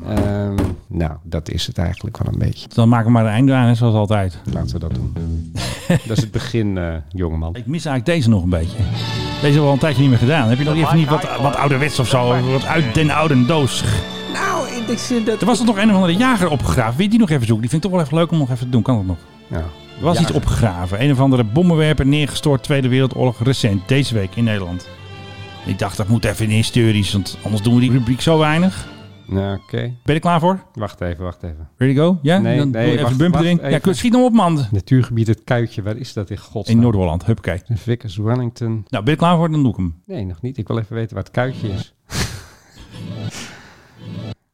Speaker 2: Ehm, nou, dat is het eigenlijk wel een beetje.
Speaker 1: Dus Dan maken we maar een einde aan, hè, zoals altijd. [LAUGHS]
Speaker 2: Laten we dat doen. dat is het begin, eh, jongeman.
Speaker 1: Ik mis eigenlijk deze nog een beetje. Deze hebben we al een tijdje niet meer gedaan. Heb je nog even niet wat, wat ouderwets of zo? Wat uit den oude doos.
Speaker 2: Nou, ik denk dat...
Speaker 1: Er was er nog een of andere jager opgegraven. Wil je die nog even zoeken? Die vind ik toch wel even leuk om nog even te doen. Kan dat nog?
Speaker 2: Ja.
Speaker 1: Er was iets opgegraven. Een of andere bommenwerper neergestort. Tweede Wereldoorlog recent. Deze week in Nederland. Ik dacht, dat moet even in historisch. Want anders doen we die rubriek zo weinig.
Speaker 2: Nou, oké.
Speaker 1: Ben je er klaar voor?
Speaker 2: Wacht even, wacht even.
Speaker 1: Ready to go? Ja?
Speaker 2: Nee,
Speaker 1: Dan
Speaker 2: nee,
Speaker 1: doe even
Speaker 2: wacht,
Speaker 1: de bumper
Speaker 2: wacht,
Speaker 1: erin. Ja,
Speaker 2: even.
Speaker 1: kun- schiet hem op, man.
Speaker 2: Natuurgebied Het Kuitje, waar is dat in godsnaam?
Speaker 1: In Noord-Holland. Huppakee.
Speaker 2: Vickers, Wellington.
Speaker 1: Nou, ben je er klaar voor? Dan doe ik hem.
Speaker 2: Nee, nog niet. Ik wil even weten waar het kuitje
Speaker 1: [LAUGHS]
Speaker 2: is.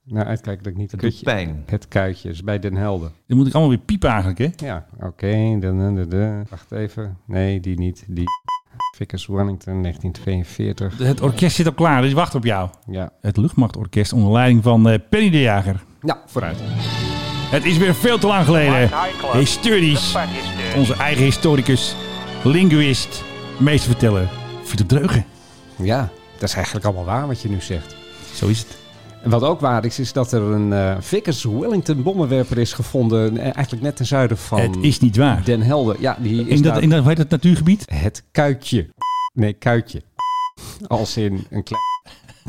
Speaker 2: nou, uitkijken dat ik niet het kutje...
Speaker 9: pijn.
Speaker 2: Het kuitje is bij Den Helder.
Speaker 1: Dan moet ik allemaal weer piepen eigenlijk, hè?
Speaker 2: Ja, oké. dan- dan- dan- dan. Wacht even. Nee, die niet. Die Vickers, Wellington, 1942.
Speaker 1: Het orkest zit al klaar, dus wacht op jou.
Speaker 2: Ja.
Speaker 1: Het luchtmachtorkest onder leiding van eh, Penny de Jager.
Speaker 2: Nou, vooruit.
Speaker 1: Het is weer veel te lang geleden. Historisch. Onze eigen historicus, linguist, meesterverteller. Philip Dreugen.
Speaker 2: Ja, dat is eigenlijk allemaal waar wat je nu zegt.
Speaker 1: Zo is het.
Speaker 2: En wat ook waar is, is dat er een eh, Vickers Wellington bommenwerper is gevonden. eh, Eigenlijk net ten zuiden van
Speaker 1: het is niet waar.
Speaker 2: Den Helder. Ja, die is
Speaker 1: In dat,
Speaker 2: daar-
Speaker 1: in dat, hoe heet dat natuurgebied?
Speaker 2: het kuitje. Nee, kuitje. Als in [LAUGHS] een klein,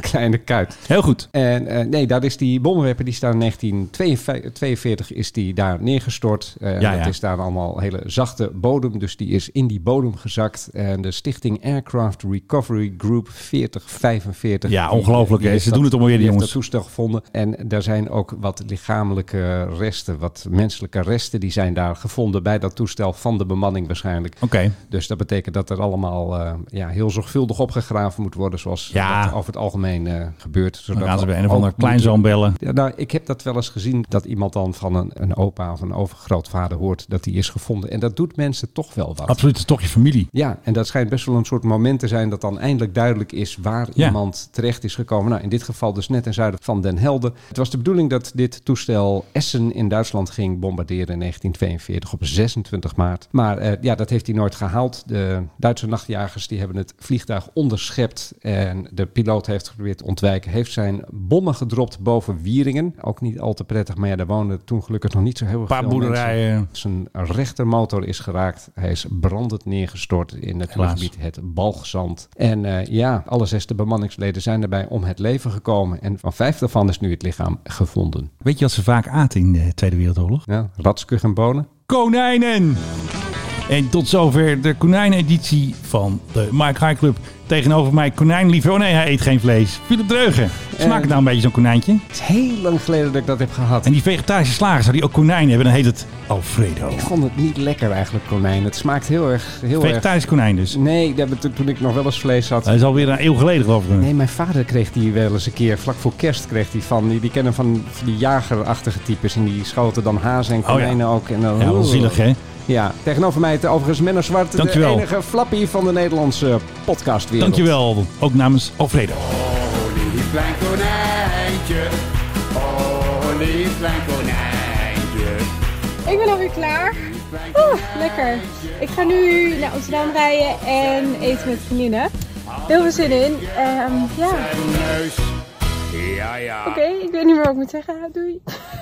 Speaker 2: kleine kuit.
Speaker 1: Heel goed.
Speaker 2: En eh, nee, daar is die bommenwerper, die staat in 1942 is die daar neergestort. Eh
Speaker 1: Ja,
Speaker 2: dat
Speaker 1: ja.
Speaker 2: is daar allemaal hele zachte bodem, dus die is in die bodem gezakt. En de stichting Aircraft Recovery Group 4045...
Speaker 1: Ja,
Speaker 2: die-
Speaker 1: ongelooflijk,
Speaker 2: die
Speaker 1: hè.
Speaker 2: heeft
Speaker 1: Ze
Speaker 2: dat-
Speaker 1: doen het allemaal weer, die
Speaker 2: heeft
Speaker 1: jongens.
Speaker 2: dat toestel gevonden. En daar zijn ook wat lichamelijke resten, wat menselijke resten... die zijn daar gevonden bij dat toestel van de bemanning waarschijnlijk.
Speaker 1: Oké.
Speaker 2: Dus dat betekent dat er allemaal eh, ja, heel zorgvuldig opgegraven moet worden, zoals
Speaker 1: Ja.
Speaker 2: dat over het algemeen eh, gebeurt.
Speaker 1: Dan
Speaker 2: Zodat
Speaker 1: gaan ze
Speaker 2: we
Speaker 1: weer een of
Speaker 2: ook
Speaker 1: ander
Speaker 2: moeten-
Speaker 1: kleinzoon bellen.
Speaker 2: Ja, nou, ik heb dat wel eens gezien, dat iemand dan van een, een opa of een overgrootvader hoort dat die is gevonden. En dat doet mensen toch wel wat.
Speaker 1: Absoluut, het is toch je familie.
Speaker 2: Ja, en dat schijnt best wel een soort moment te zijn dat dan eindelijk duidelijk is waar
Speaker 1: Ja.
Speaker 2: iemand terecht is gekomen. Nou, in dit geval dus net ten zuiden van Den Helder. Het was de bedoeling dat dit toestel Essen in Duitsland ging bombarderen in 1942 op 26 maart. Maar eh, ja, dat heeft hij nooit gehaald. De Duitse nachtjagers die hebben het vliegtuig onderschept en de piloot heeft geprobeerd te ontwijken. Heeft zijn bommen gedropt boven Wieringen. Ook niet al te prettig, maar ja, daar woonden toen gelukkig nog niet zo heel
Speaker 1: Een paar
Speaker 2: veel mensen.
Speaker 1: boerderijen.
Speaker 2: Zijn rechtermotor is geraakt. Hij is brandend neergestort in het
Speaker 1: Helaas.
Speaker 2: gebied het Balgzand. En eh, ja, alle zes de bemanningsleden zijn daarbij om het leven gekomen. En van vijf daarvan is nu het lichaam gevonden.
Speaker 1: Weet je wat ze vaak aten in de Tweede Wereldoorlog?
Speaker 2: Ja, ratskug en bonen.
Speaker 1: konijnen. En tot zover de konijneneditie van de Mike High Club. Tegenover mij konijnliever. Oh nee, hij eet geen vlees. Philip Dreugen.
Speaker 2: Eh.
Speaker 1: Smaakt het nou een beetje zo'n konijntje?
Speaker 2: Het is heel lang geleden dat ik dat heb gehad.
Speaker 1: En die vegetarische slager zou die ook konijn hebben. Dan heet het Alfredo.
Speaker 2: Ik vond het niet lekker eigenlijk, konijn. Het smaakt heel erg... Heel erg...
Speaker 1: Vegetarisch konijn dus.
Speaker 2: Nee, dat heb ik- toen ik nog wel eens vlees had.
Speaker 1: Dat is alweer een eeuw geleden geloof ik.
Speaker 2: Nee, mijn vader kreeg die wel eens een keer, vlak voor kerst kreeg die van. Die, die kennen van, van die jagerachtige types. En die schoten dan hazen en
Speaker 1: Oh ja.
Speaker 2: konijnen ook. En dan,
Speaker 1: Ja, wel zielig hè.
Speaker 2: Ja, tegenover mij het overigens Menno Zwart,
Speaker 1: Dankjewel.
Speaker 2: de enige flappie van de Nederlandse podcastwereld.
Speaker 1: Dankjewel. Ook namens Alfredo.
Speaker 7: Oh, lief klein konijntje. Oh, lief klein konijntje.
Speaker 5: Ik ben alweer klaar. Oeh, lekker. Ik ga nu naar Amsterdam rijden en eten met vriendinnen. Heel veel zin in. Ehm, ja,
Speaker 7: Een neus. Ja, ja.
Speaker 5: oké. Ik weet niet meer wat ik moet zeggen. Doei. [LAUGHS]